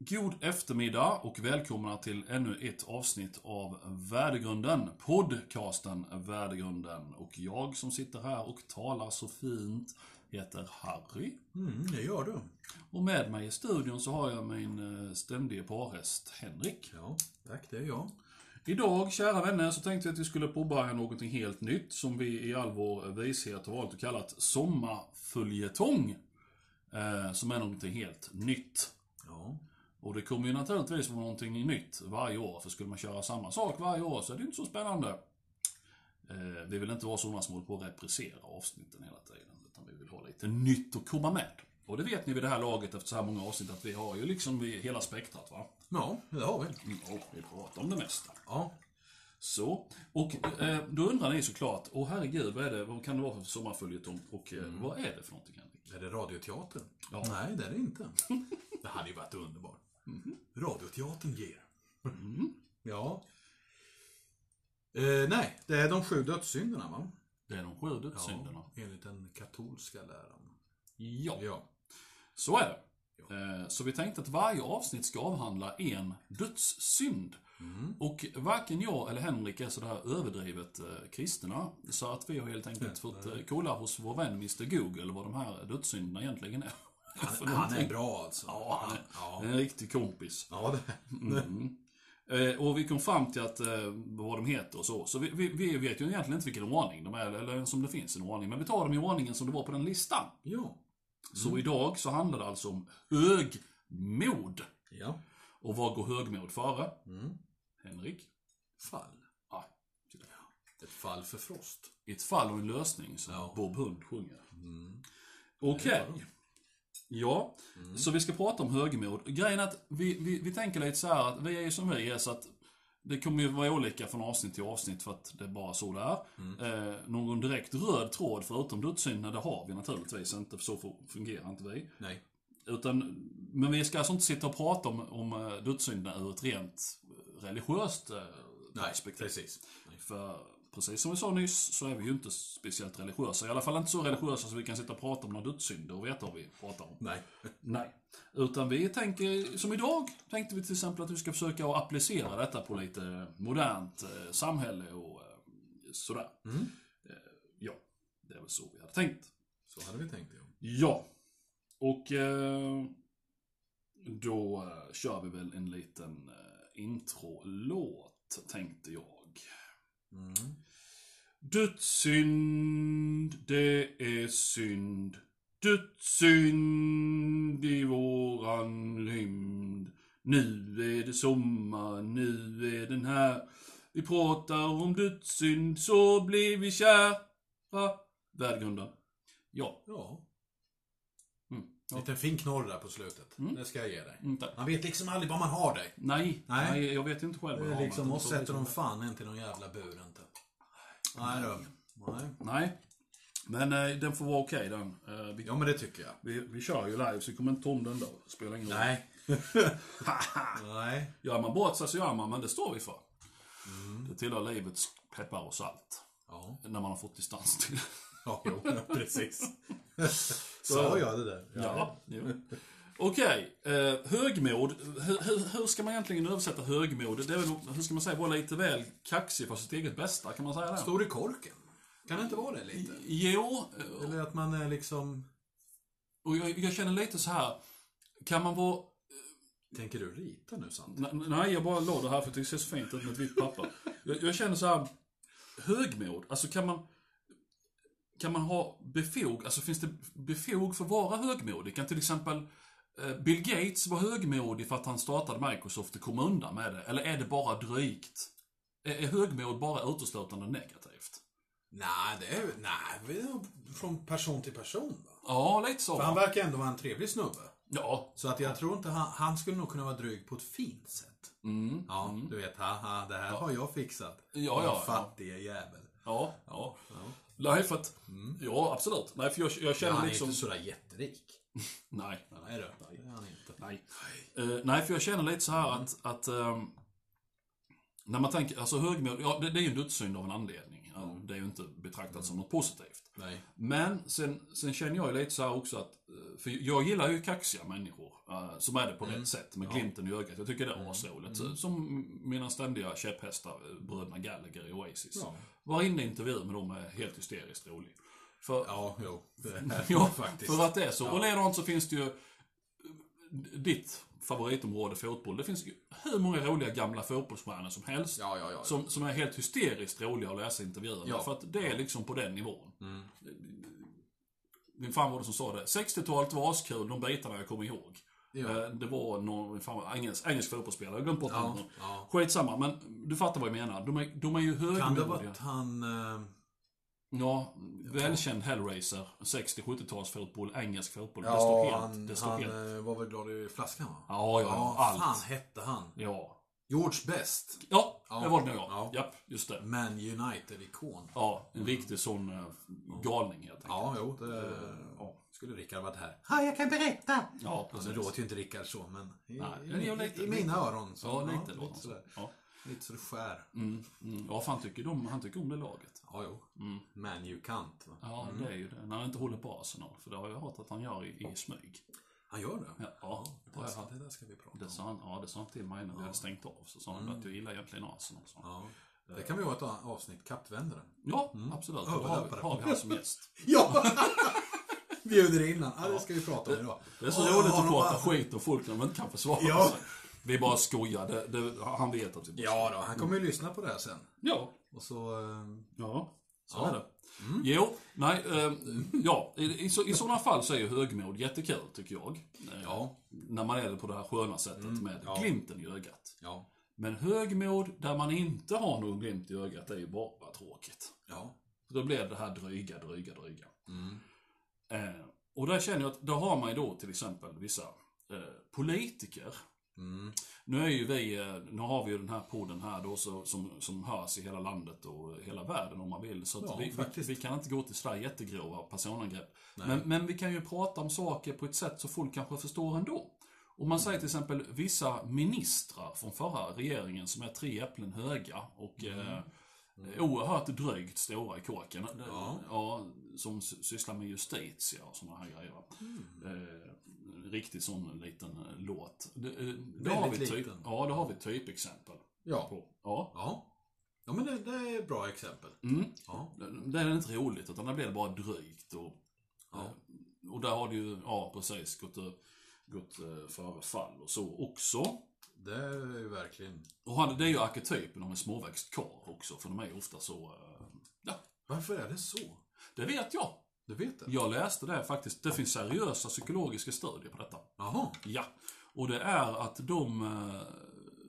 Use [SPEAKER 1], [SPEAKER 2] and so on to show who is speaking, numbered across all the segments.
[SPEAKER 1] God eftermiddag och välkomna till ännu ett avsnitt av Värdegrunden, podcasten Värdegrunden. Och jag som sitter här och talar så fint heter Harry.
[SPEAKER 2] Mm, det gör du.
[SPEAKER 1] Och med mig i studion så har jag min eh, ständige parhäst Henrik.
[SPEAKER 2] Ja, tack, det är jag.
[SPEAKER 1] Idag, kära vänner, så tänkte jag att vi skulle påbörja någonting helt nytt som vi i all vår vishet har valt att kalla sommarföljetong. Eh, som är någonting helt nytt.
[SPEAKER 2] Ja,
[SPEAKER 1] Och det kommer ju naturligtvis vara någonting nytt varje år, för skulle man köra samma sak varje år så är det ju inte så spännande. Eh, vi vill inte vara sådana som håller på att reprisera avsnitten hela tiden, utan vi vill ha lite nytt att komma med. Och det vet ni vid det här laget efter så här många avsnitt att vi har ju liksom vi- hela spektrat va?
[SPEAKER 2] ja det har vi.
[SPEAKER 1] Och vi pratar om det mesta.
[SPEAKER 2] Ja.
[SPEAKER 1] Så, och eh, då undrar ni såklart, åh herregud, vad, är det, vad kan det vara för sommarföljetong och eh, vad är det för någonting Henrik?
[SPEAKER 2] Är det Radioteatern?
[SPEAKER 1] Ja.
[SPEAKER 2] Nej, det är det inte. Det hade ju varit underbart.
[SPEAKER 1] Mm.
[SPEAKER 2] Radioteatern ger. Ja. Eh, nej, det är de sju dödssynderna, va?
[SPEAKER 1] Det är de sju dödssynderna.
[SPEAKER 2] Ja, enligt den katolska läran.
[SPEAKER 1] Ja.
[SPEAKER 2] Ja.
[SPEAKER 1] Så är det. Eh, Så vi tänkte att varje avsnitt ska avhandla en dödssynd.
[SPEAKER 2] Mm.
[SPEAKER 1] Och varken jag eller Henrik är sådär överdrivet eh, kristna. Så att vi har helt enkelt fått eh, kolla hos vår vän Mr Google vad de här dödssynderna egentligen är. För
[SPEAKER 2] Han, han
[SPEAKER 1] någonting.
[SPEAKER 2] är bra alltså.
[SPEAKER 1] Ja, han är-
[SPEAKER 2] ja.
[SPEAKER 1] En riktig kompis.
[SPEAKER 2] ja det
[SPEAKER 1] Mm. Eh, Och vi kom fram till att eh, vad de heter och så. Så vi, vi, vi vet ju egentligen inte vilken ordning de är, eller ens om det finns en ordning. Men vi tar dem i ordningen som det var på den listan.
[SPEAKER 2] Ja.
[SPEAKER 1] Så
[SPEAKER 2] Mm.
[SPEAKER 1] idag så handlar det alltså om högmod.
[SPEAKER 2] Ja.
[SPEAKER 1] Och vad går högmod före?
[SPEAKER 2] Mm.
[SPEAKER 1] Henrik?
[SPEAKER 2] Fall.
[SPEAKER 1] Ja.
[SPEAKER 2] Ett fall för Frost.
[SPEAKER 1] I ett fall och en lösning som
[SPEAKER 2] Ja.
[SPEAKER 1] Bob Hund sjunger.
[SPEAKER 2] Mm.
[SPEAKER 1] Okej.
[SPEAKER 2] Ja.
[SPEAKER 1] Ja,
[SPEAKER 2] Mm.
[SPEAKER 1] så vi ska prata om högmod. Grejen är att vi, vi, vi tänker lite så här att vi är ju som vi är så att det kommer ju vara olika från avsnitt till avsnitt för att det är bara så det är.
[SPEAKER 2] Mm.
[SPEAKER 1] Eh, någon direkt röd tråd förutom dödssynderna, det har vi naturligtvis inte, för så fu- fungerar inte vi.
[SPEAKER 2] Nej.
[SPEAKER 1] Utan, men vi ska alltså inte sitta och prata om, om eh, dödssynderna ur ett rent eh, religiöst eh,
[SPEAKER 2] Nej,
[SPEAKER 1] perspektiv.
[SPEAKER 2] precis. Nej.
[SPEAKER 1] För precis som vi sa nyss så är vi ju inte speciellt religiösa. I alla fall inte så religiösa så vi kan sitta och prata om några dödssynder och veta vad vi pratar om.
[SPEAKER 2] Nej.
[SPEAKER 1] Nej. Utan vi tänker, som idag, tänkte vi till exempel att vi ska försöka att applicera detta på lite modernt eh, samhälle och eh, sådär.
[SPEAKER 2] Mm.
[SPEAKER 1] Eh, ja, det är väl så vi hade tänkt.
[SPEAKER 2] Så hade vi tänkt, ja.
[SPEAKER 1] Ja. Och eh, då eh, kör vi väl en liten eh, introlåt, tänkte jag.
[SPEAKER 2] Mm.
[SPEAKER 1] Dödssynd, det är synd. Dödssynd i våran rymd. Nu är det sommar, nu är den här. Vi pratar om dödssynd, så blir vi kära. Värdegrunda. Ja,
[SPEAKER 2] Ja.
[SPEAKER 1] Mm.
[SPEAKER 2] ja. Liten fin knorr där på slutet.
[SPEAKER 1] Mm.
[SPEAKER 2] Det ska jag ge dig.
[SPEAKER 1] inte.
[SPEAKER 2] Man vet liksom aldrig var man har dig.
[SPEAKER 1] Nej,
[SPEAKER 2] Nej.
[SPEAKER 1] nej, jag vet inte själv vad jag har,
[SPEAKER 2] Liksom,
[SPEAKER 1] men
[SPEAKER 2] oss
[SPEAKER 1] det är
[SPEAKER 2] sätter de
[SPEAKER 1] så-
[SPEAKER 2] fan inte i någon jävla bur inte. Nej då. Nej.
[SPEAKER 1] Nej, men eh, den får vara okej den. Eh, vi,
[SPEAKER 2] Ja men det tycker jag.
[SPEAKER 1] vi, vi kör ju live, så vi kommer inte ta om den då. Spelar ingen roll.
[SPEAKER 2] Nej. Nej.
[SPEAKER 1] Gör man bort sig så gör man, men det står vi för. Det tillhör livets peppar och salt.
[SPEAKER 2] Ja.
[SPEAKER 1] När man har fått distans till det.
[SPEAKER 2] Ja, jo, precis. Sa jag det där?
[SPEAKER 1] jo. Okej, eh, högmod. Hur, hur, hur ska man egentligen översätta högmod? Det är väl, hur ska man säga, vara lite väl kaxig för sitt eget bästa? Kan man säga det?
[SPEAKER 2] Står i korken. Kan det inte vara det lite?
[SPEAKER 1] Jo, eh,
[SPEAKER 2] Eller att man är liksom...
[SPEAKER 1] och jag, jag känner lite så här. Kan man vara...
[SPEAKER 2] Tänker du rita nu sant?
[SPEAKER 1] Ne- Nej, jag bara la det här för att det ser så fint ut med ett vitt papper. Jag, jag känner så här. Högmod, alltså kan man... Kan man ha befog, alltså finns det befog för att vara högmodig? Kan till exempel eh, Bill Gates vara högmodig för att han startade Microsoft och kom undan med det? Eller är det bara drygt? Är, är högmod bara uteslutande negativt?
[SPEAKER 2] Nej, det är Nej, vi är från person till person. Va?
[SPEAKER 1] Ja, lite så.
[SPEAKER 2] För han verkar ändå vara en trevlig snubbe.
[SPEAKER 1] Ja.
[SPEAKER 2] Så att jag tror inte han, han skulle nog kunna vara dryg på ett fint sätt.
[SPEAKER 1] Mm.
[SPEAKER 2] Ja, du vet, haha, det här har jag fixat.
[SPEAKER 1] Ja,
[SPEAKER 2] Den
[SPEAKER 1] ja, ja.
[SPEAKER 2] Fattige jävel.
[SPEAKER 1] Ja. ja. Nej, för att... Ja, absolut. Nej, för jag, jag känner
[SPEAKER 2] Mm. Han är
[SPEAKER 1] liksom...
[SPEAKER 2] inte sådär jätterik.
[SPEAKER 1] Nej, nej, nej.
[SPEAKER 2] Nej då, det är han inte.
[SPEAKER 1] Nej. Eh, nej, för jag känner lite så här att, att ehm, när man tänker, alltså högmod, ja det, det är ju en dödssynd av en anledning. Ja,
[SPEAKER 2] Mm.
[SPEAKER 1] Det är ju inte betraktat som något positivt.
[SPEAKER 2] Nej.
[SPEAKER 1] Men sen, sen känner jag ju lite så här också att eh, för jag gillar ju kaxiga människor eh, som är det på rätt sätt, med
[SPEAKER 2] Mm. Ja. Mm.
[SPEAKER 1] glimten i ögat. Jag tycker det är asroligt. Som mina ständiga käpphästar, eh, bröderna Gallagher i Oasis.
[SPEAKER 2] Ja.
[SPEAKER 1] Varenda intervju med dem är helt hysteriskt rolig. För,
[SPEAKER 2] Ja, jo. Det är
[SPEAKER 1] Ja,
[SPEAKER 2] faktiskt.
[SPEAKER 1] för att det är så. Och ledaren så finns det ju eh, ditt favoritområde fotboll. Det finns ju hur många roliga gamla fotbollsstjärnor som helst.
[SPEAKER 2] Ja, ja, ja.
[SPEAKER 1] Som, som är helt hysteriskt roliga att läsa intervjuerna.
[SPEAKER 2] Ja. Mm.
[SPEAKER 1] För att det är liksom på den nivån. Min fan var det som sa det. 60-talet var askul, de bitarna jag kommer ihåg.
[SPEAKER 2] Ja.
[SPEAKER 1] Eh, Det var någon min fan, var det, engelsk, engelsk fotbollsspelare, jag har glömt bort
[SPEAKER 2] Ja,
[SPEAKER 1] honom.
[SPEAKER 2] ja.
[SPEAKER 1] Skitsamma, men du fattar vad jag menar. De är, de är ju
[SPEAKER 2] Kan det ha
[SPEAKER 1] högmodiga.
[SPEAKER 2] varit han... eh,
[SPEAKER 1] Ja, välkänd hellraiser. 60-70-tals fotboll, engelsk fotboll. det står
[SPEAKER 2] Ja,
[SPEAKER 1] helt.
[SPEAKER 2] han,
[SPEAKER 1] det står
[SPEAKER 2] han
[SPEAKER 1] helt.
[SPEAKER 2] eh, var väl glad i flaskan va?
[SPEAKER 1] Ja, ja, ja, allt.
[SPEAKER 2] fan hette han?
[SPEAKER 1] Ja.
[SPEAKER 2] George Best.
[SPEAKER 1] Ja,
[SPEAKER 2] Ja,
[SPEAKER 1] det var det nog ja.
[SPEAKER 2] ja.
[SPEAKER 1] Japp, just det.
[SPEAKER 2] Man United-ikon.
[SPEAKER 1] Ja, en riktig sån eh, galning helt enkelt.
[SPEAKER 2] Eh, Ja, jo. Det
[SPEAKER 1] Eh, Ja.
[SPEAKER 2] skulle Rickard varit här. Ja, jag kan berätta!
[SPEAKER 1] Ja,
[SPEAKER 2] Ja, nu
[SPEAKER 1] precis.
[SPEAKER 2] låter ju inte Rickard så, men i,
[SPEAKER 1] Nej,
[SPEAKER 2] i,
[SPEAKER 1] men jag lite-
[SPEAKER 2] i, mina öron så...
[SPEAKER 1] Ja, lite
[SPEAKER 2] lite
[SPEAKER 1] låter
[SPEAKER 2] sådär.
[SPEAKER 1] det ja.
[SPEAKER 2] Lite så det skär.
[SPEAKER 1] Mm, mm. ja, för han tycker, de, han tycker om det laget.
[SPEAKER 2] Ja, jo. Man U-kant. va?
[SPEAKER 1] Mm. Ja, det är ju det. När han inte håller på Arsenal. För det har jag hört att han gör i, i smyg.
[SPEAKER 2] Han gör det?
[SPEAKER 1] Ja, ja, det har jag hört.
[SPEAKER 2] Det där ska vi prata
[SPEAKER 1] Det
[SPEAKER 2] om.
[SPEAKER 1] sa han, ja, det sa han till mig när vi hade stängt av. Så sa han att jag gillar egentligen Arsenal. sa han.
[SPEAKER 2] Mm. Ja. Det kan vi ha ett avsnitt, Kappvändaren.
[SPEAKER 1] Ja, absolut. Då
[SPEAKER 2] Ja, vad
[SPEAKER 1] har, vi-
[SPEAKER 2] lämpar det.
[SPEAKER 1] har vi han som gäst.
[SPEAKER 2] Ja! Bjuder in han. Ja, det ska vi prata om idag.
[SPEAKER 1] Det är så
[SPEAKER 2] Ja,
[SPEAKER 1] roligt
[SPEAKER 2] har
[SPEAKER 1] att
[SPEAKER 2] de
[SPEAKER 1] prata
[SPEAKER 2] här-
[SPEAKER 1] skit om folk när de inte kan försvara
[SPEAKER 2] Ja.
[SPEAKER 1] sig. Vi bara skojar. Det, det, han vet att vi bara
[SPEAKER 2] Ja, då, han kommer
[SPEAKER 1] Mm.
[SPEAKER 2] ju lyssna på det här sen.
[SPEAKER 1] Ja.
[SPEAKER 2] Och så... eh,
[SPEAKER 1] Ja. Så
[SPEAKER 2] Ja. Mm.
[SPEAKER 1] är det. Jo, nej, eh, ja. I, i, så- I sådana fall så är ju högmod jättekul, tycker jag. Eh,
[SPEAKER 2] Ja. Mm,
[SPEAKER 1] När man är det på det här sköna sättet med
[SPEAKER 2] ja.
[SPEAKER 1] glimten i ögat.
[SPEAKER 2] Ja.
[SPEAKER 1] Men högmod där man inte har någon glimt i ögat är ju bara tråkigt.
[SPEAKER 2] Ja.
[SPEAKER 1] Då blir det här dryga, dryga, dryga.
[SPEAKER 2] Mm.
[SPEAKER 1] Eh, och där känner jag att, där har man ju då till exempel vissa eh, politiker.
[SPEAKER 2] Mm.
[SPEAKER 1] Nu är ju vi, eh, nu har vi ju den här podden här då så, som, som hörs i hela landet och hela världen om man vill. Så att
[SPEAKER 2] Ja,
[SPEAKER 1] vi, vi,
[SPEAKER 2] faktiskt.
[SPEAKER 1] vi kan inte gå till sådär jättegrova personangrepp. Men, men vi kan ju prata om saker på ett sätt så folk kanske förstår ändå. Om man säger till exempel vissa ministrar från förra regeringen som är tre äpplen höga och
[SPEAKER 2] Mm.
[SPEAKER 1] eh, oerhört drygt stora i kåken. Ja. Ja, som sy- sysslar med justitia och sådana här grejer. va.
[SPEAKER 2] Mm.
[SPEAKER 1] Eh, en riktig sån liten eh, låt. Det, eh, det har vi
[SPEAKER 2] Väldigt
[SPEAKER 1] typ,
[SPEAKER 2] liten.
[SPEAKER 1] ja, det har vi typexempel
[SPEAKER 2] Ja.
[SPEAKER 1] på. Ja.
[SPEAKER 2] Ja. Ja, men det, det är ett bra exempel.
[SPEAKER 1] Mm.
[SPEAKER 2] Ja.
[SPEAKER 1] Det är inte roligt, utan det blir bara drygt. Och, eh,
[SPEAKER 2] Ja.
[SPEAKER 1] och där har det ju, ja precis, gått, eh, gått eh, före fall och så också.
[SPEAKER 2] Det är ju verkligen...
[SPEAKER 1] Och han, det är ju arketypen om en småväxt karl också, för de är ju ofta så, eh, ja,
[SPEAKER 2] Varför är det så?
[SPEAKER 1] det vet jag.
[SPEAKER 2] Du vet det?
[SPEAKER 1] Jag läste det faktiskt. Det finns seriösa psykologiska studier på detta.
[SPEAKER 2] Jaha.
[SPEAKER 1] Ja. Och det är att de, eh,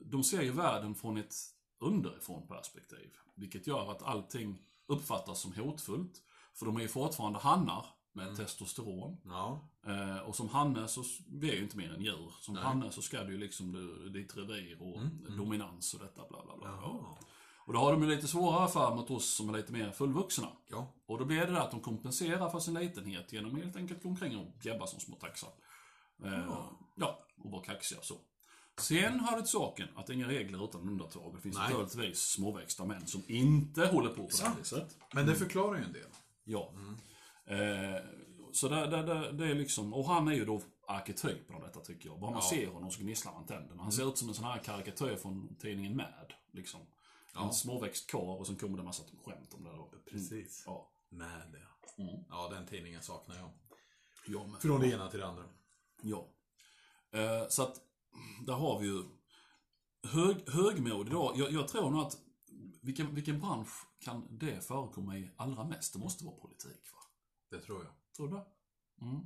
[SPEAKER 1] de ser ju världen från ett underifrån perspektiv. Vilket gör att allting uppfattas som hotfullt. För de är ju fortfarande hannar med testosteron.
[SPEAKER 2] Ja.
[SPEAKER 1] Eh, och som hanne så, vi är ju inte mer än djur. Som
[SPEAKER 2] Nej.
[SPEAKER 1] hanne så ska du ju liksom du, ditt revir och dominans och detta bla bla bla.
[SPEAKER 2] Jaha.
[SPEAKER 1] Och då har de ju lite svårare för mot oss som är lite mer fullvuxna.
[SPEAKER 2] Ja.
[SPEAKER 1] Och då blir det där att de kompenserar för sin litenhet genom att helt enkelt gå omkring och jabba som små taxar. Eh, ja, och vara kaxiga så. Sen hör det till saken att inga regler utan undantag. Det finns
[SPEAKER 2] Nej.
[SPEAKER 1] naturligtvis småväxta män som inte håller på på det här viset.
[SPEAKER 2] Men det förklarar ju en del.
[SPEAKER 1] Ja. Eh, så där, där, där, det är liksom, och han är ju då arketypen av detta tycker jag. Bara man ser honom så gnisslar man tänderna. Han ser ut som en sån här karikatyr från tidningen Mad. Liksom. En småväxt karl och sen kommer det en massa skämt om det. Då. Mm.
[SPEAKER 2] Precis.
[SPEAKER 1] Ja.
[SPEAKER 2] Med det. Ja, den tidningen saknar jag.
[SPEAKER 1] Jag med.
[SPEAKER 2] Från det ena till det andra.
[SPEAKER 1] Ja. Eh, så att, där har vi ju hög, högmod idag. Jag, jag tror nog att, vilken, vilken bransch kan det förekomma i allra mest? Det måste vara politik va?
[SPEAKER 2] Det tror jag.
[SPEAKER 1] Tror du det? Mm.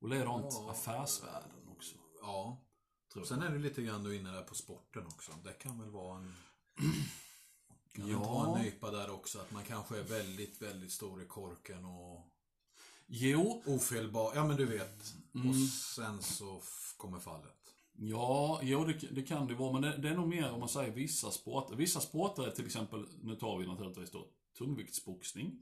[SPEAKER 1] Och ledant
[SPEAKER 2] Ja.
[SPEAKER 1] affärsvärlden också.
[SPEAKER 2] Ja.
[SPEAKER 1] Tror
[SPEAKER 2] Sen är det lite grann du är inne där på sporten också. Det kan väl vara en... Kan
[SPEAKER 1] Ja.
[SPEAKER 2] ja. ta en nypa där också. Att man kanske är väldigt, väldigt stor i korken och
[SPEAKER 1] Jo,
[SPEAKER 2] ofelbar. Ja, men du vet.
[SPEAKER 1] Mm.
[SPEAKER 2] Och sen så f- kommer fallet.
[SPEAKER 1] ja, jo det, det kan det vara, men det, det är nog mer om man säger vissa sporter. Vissa sporter är till exempel, nu tar vi naturligtvis då tungviktsboxning,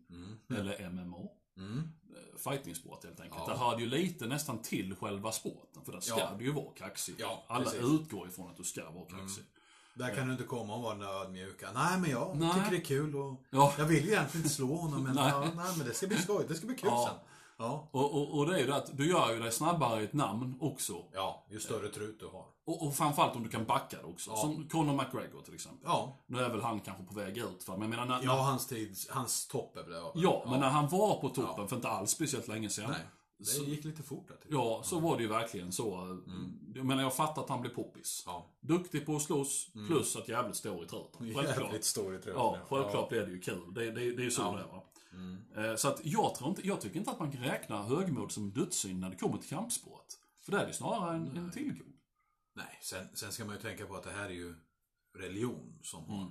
[SPEAKER 1] eller MMA.
[SPEAKER 2] Mm.
[SPEAKER 1] Eh, fightingsport helt enkelt.
[SPEAKER 2] Ja.
[SPEAKER 1] Där hör det ju lite nästan till själva sporten. För där ska
[SPEAKER 2] Ja.
[SPEAKER 1] du ju vara kaxig.
[SPEAKER 2] Ja,
[SPEAKER 1] Alla
[SPEAKER 2] precis. Mm.
[SPEAKER 1] utgår ifrån att du ska vara kaxig.
[SPEAKER 2] Där kan du inte komma och vara den där ödmjuka. Nej, men jag
[SPEAKER 1] Nej.
[SPEAKER 2] tycker det är kul och
[SPEAKER 1] Ja.
[SPEAKER 2] jag vill ju egentligen inte slå honom. Men,
[SPEAKER 1] Nej.
[SPEAKER 2] nej. Ja, nej, men det ska bli skoj. Det ska bli kul
[SPEAKER 1] Ja.
[SPEAKER 2] sen. Ja.
[SPEAKER 1] Och, och, och det är ju det att du gör ju dig snabbare i ett namn också.
[SPEAKER 2] Ja, ju större trut du har.
[SPEAKER 1] Och, och framförallt om du kan backa det också.
[SPEAKER 2] Ja.
[SPEAKER 1] Som Conor McGregor till exempel.
[SPEAKER 2] Ja.
[SPEAKER 1] Nu är väl han kanske på väg ut va? Men jag menar, när,
[SPEAKER 2] Ja, hans tid, hans topp är väl över.
[SPEAKER 1] ja, men när han var på toppen
[SPEAKER 2] Ja.
[SPEAKER 1] för inte alls speciellt länge sedan.
[SPEAKER 2] Nej. Mm. Det
[SPEAKER 1] Så-
[SPEAKER 2] gick lite fort där typ. till.
[SPEAKER 1] Ja, så var det ju verkligen så. Jag menar, jag fattar att han blev poppis.
[SPEAKER 2] Mm. Ja. Mm.
[SPEAKER 1] Duktig på att slåss, plus att jävligt stor i truten. Självklart.
[SPEAKER 2] Jävligt stor i truten.
[SPEAKER 1] Ja, självklart blir det ju kul. Det, det, det är ju så
[SPEAKER 2] Ja. Mm.
[SPEAKER 1] det är va. Eh, Så att jag, tror inte, jag tycker inte att man kan räkna högmod som dödssynd när det kommer till kampsport. För det är ju snarare en, en tillgång.
[SPEAKER 2] Nej, sen, sen ska man ju tänka på att det här är ju religion som har...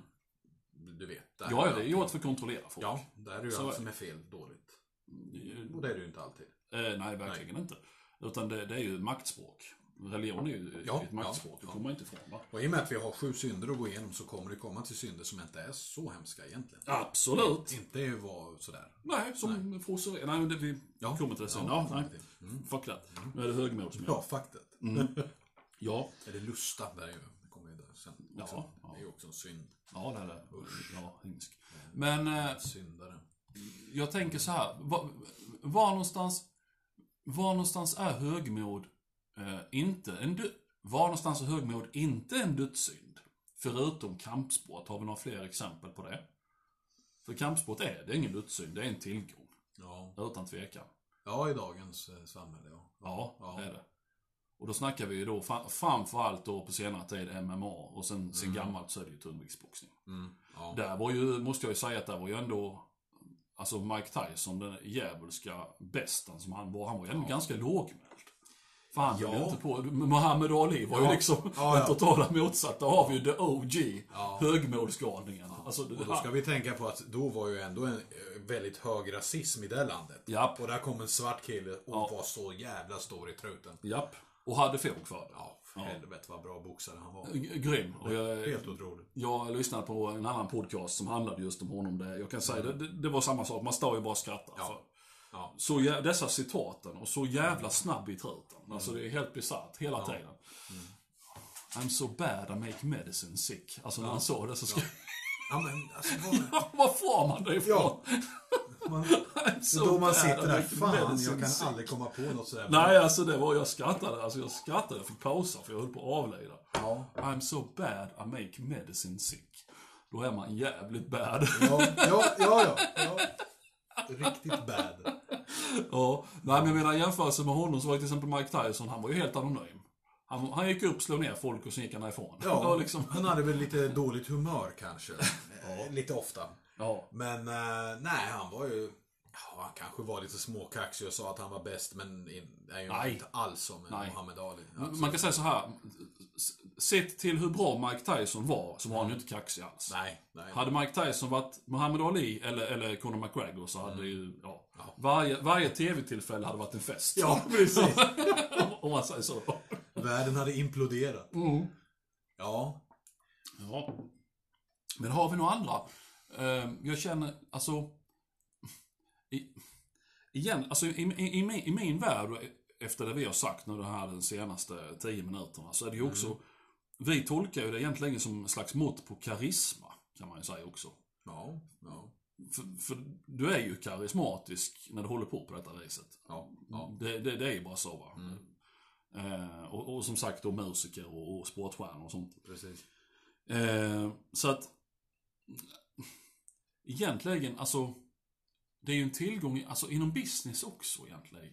[SPEAKER 2] Du vet. där
[SPEAKER 1] Mm. Ja, ja,
[SPEAKER 2] är
[SPEAKER 1] det är
[SPEAKER 2] allting-
[SPEAKER 1] gjort för att kontrollera folk.
[SPEAKER 2] Ja, där är ju
[SPEAKER 1] Så-
[SPEAKER 2] allt som är fel dåligt.
[SPEAKER 1] Eh,
[SPEAKER 2] Och det är det ju inte alltid.
[SPEAKER 1] Eh, nej, verkligen inte. Utan det, det är ju maktspråk. Religion är ju
[SPEAKER 2] Ja,
[SPEAKER 1] ett maktspråk,
[SPEAKER 2] ja,
[SPEAKER 1] det kommer man inte ifrån va?
[SPEAKER 2] Och i och med att vi har sju synder att gå igenom så kommer det komma till synder som inte är så hemska egentligen.
[SPEAKER 1] Absolut!
[SPEAKER 2] Inte vara sådär.
[SPEAKER 1] Nej, som nej. Nej, men det, vi kommer
[SPEAKER 2] Ja.
[SPEAKER 1] till Mm. det sen. Ja,
[SPEAKER 2] Ja,
[SPEAKER 1] nej.
[SPEAKER 2] kommer till.
[SPEAKER 1] Fuck that. Nu är det högmod som gäller.
[SPEAKER 2] Ja, faktet.
[SPEAKER 1] Mm. Ja.
[SPEAKER 2] Eller lusta, där är ju, det kommer ju där sen.
[SPEAKER 1] Ja,
[SPEAKER 2] också.
[SPEAKER 1] ja.
[SPEAKER 2] Det är ju också en synd.
[SPEAKER 1] Ja, det är det. Ja, himsk. Men eh,
[SPEAKER 2] Syndare.
[SPEAKER 1] jag tänker så här. Var, var någonstans, var någonstans är högmod eh, inte en dö- Var någonstans är högmod inte en dödssynd? Förutom kampsport. Har vi några fler exempel på det? För kampsport är, det är ingen dödssynd, det är en tillgång.
[SPEAKER 2] Ja.
[SPEAKER 1] Utan tvekan.
[SPEAKER 2] ja, i dagens eh, samhälle ja.
[SPEAKER 1] Ja,
[SPEAKER 2] Ja.
[SPEAKER 1] det är det. Och då snackar vi ju då fra- framförallt då på senare tid MMA och sen, sen gammalt så är det ju tungviktsboxning.
[SPEAKER 2] Mm. ja.
[SPEAKER 1] Där var ju, måste jag ju säga att där var ju ändå Alltså Mike Tyson, den djävulska besten som han var, han var ju ändå ganska lågmäld. För han höll
[SPEAKER 2] Ja.
[SPEAKER 1] ju inte på, Muhammad Ali var ju
[SPEAKER 2] Ja.
[SPEAKER 1] liksom
[SPEAKER 2] Ja, ja.
[SPEAKER 1] den totala motsatta. Där har vi ju the OG,
[SPEAKER 2] Ja.
[SPEAKER 1] högmålsgalningen. Alltså,
[SPEAKER 2] Och då ska vi tänka på att då var ju ändå en eh, väldigt hög rasism i det landet.
[SPEAKER 1] Japp.
[SPEAKER 2] Och där kom en svart kille och var så jävla stor i truten.
[SPEAKER 1] Japp, och hade fog för det.
[SPEAKER 2] Ja, för helvete vad bra boxare han var.
[SPEAKER 1] G- Grym. Och jag,
[SPEAKER 2] Helt otroligt.
[SPEAKER 1] Jag lyssnade på en annan podcast som handlade just om honom. Där jag kan säga, det, det, det var samma sak. Man står ju bara och skrattar. För.
[SPEAKER 2] Mm. Ja.
[SPEAKER 1] Så jä- dessa citaten och så jävla snabb i truten. Alltså
[SPEAKER 2] Mm.
[SPEAKER 1] det är helt besatt hela tiden. I'm so bad I make medicine sick. Alltså när han sa det så skrev
[SPEAKER 2] Ja, men alltså, vad-
[SPEAKER 1] Var får man det ifrån?
[SPEAKER 2] man,
[SPEAKER 1] I'm so
[SPEAKER 2] då man
[SPEAKER 1] bad I
[SPEAKER 2] sitter där,
[SPEAKER 1] make
[SPEAKER 2] fan
[SPEAKER 1] medicine
[SPEAKER 2] jag kan
[SPEAKER 1] sick."
[SPEAKER 2] aldrig komma på något sådär.
[SPEAKER 1] Nej, alltså det var, jag skrattade. Alltså jag skrattade, jag fick pausa för jag höll på att avlida.
[SPEAKER 2] Ja.
[SPEAKER 1] I'm so bad I make medicine sick. Då är man jävligt bad.
[SPEAKER 2] Ja, ja, ja, ja, ja. Riktigt bad.
[SPEAKER 1] Ja, nej men jag menar i jämförelse med honom så var ju till exempel Mike Tyson, han var ju helt anonym. Han, han gick upp, slog ner folk och sen gick han därifrån. Det var
[SPEAKER 2] Ja,
[SPEAKER 1] liksom,
[SPEAKER 2] han hade väl lite dåligt humör kanske. Eh, Lite ofta.
[SPEAKER 1] ja.
[SPEAKER 2] Men eh, nej, han var ju... Ja, han kanske var lite småkaxig och sa att han var bäst, men in- är ju
[SPEAKER 1] Nej.
[SPEAKER 2] inte alls som en
[SPEAKER 1] Nej. Mm.
[SPEAKER 2] Muhammad Ali.
[SPEAKER 1] Man kan säga så här. s- Sett till hur bra Mike Tyson var, så var han ju inte kaxig alls.
[SPEAKER 2] Nej, nej.
[SPEAKER 1] Hade Mike Tyson varit Muhammad Ali eller, eller Conor McGregor så
[SPEAKER 2] Mm.
[SPEAKER 1] hade ju, ja. Varje, varje TV-tillfälle hade varit en fest.
[SPEAKER 2] Ja, precis.
[SPEAKER 1] Om man säger så.
[SPEAKER 2] Världen hade imploderat. Ja,
[SPEAKER 1] Ja. Men har vi några andra? Eh, Jag känner, alltså... I, igen, alltså i, i, i, min, i min värld, och efter det vi har sagt nu de här de senaste tio minuterna, så är det ju också... Vi tolkar ju det egentligen som en slags mått på karisma, kan man ju säga också.
[SPEAKER 2] ja, ja.
[SPEAKER 1] För, för du är ju karismatisk när du håller på på detta viset.
[SPEAKER 2] ja, ja.
[SPEAKER 1] Det, det, det är ju bara så va. Eh, och, och som sagt då musiker och, och sportstjärnor och sånt.
[SPEAKER 2] Precis.
[SPEAKER 1] Eh, så att egentligen, alltså det är ju en tillgång i- alltså, inom business också egentligen.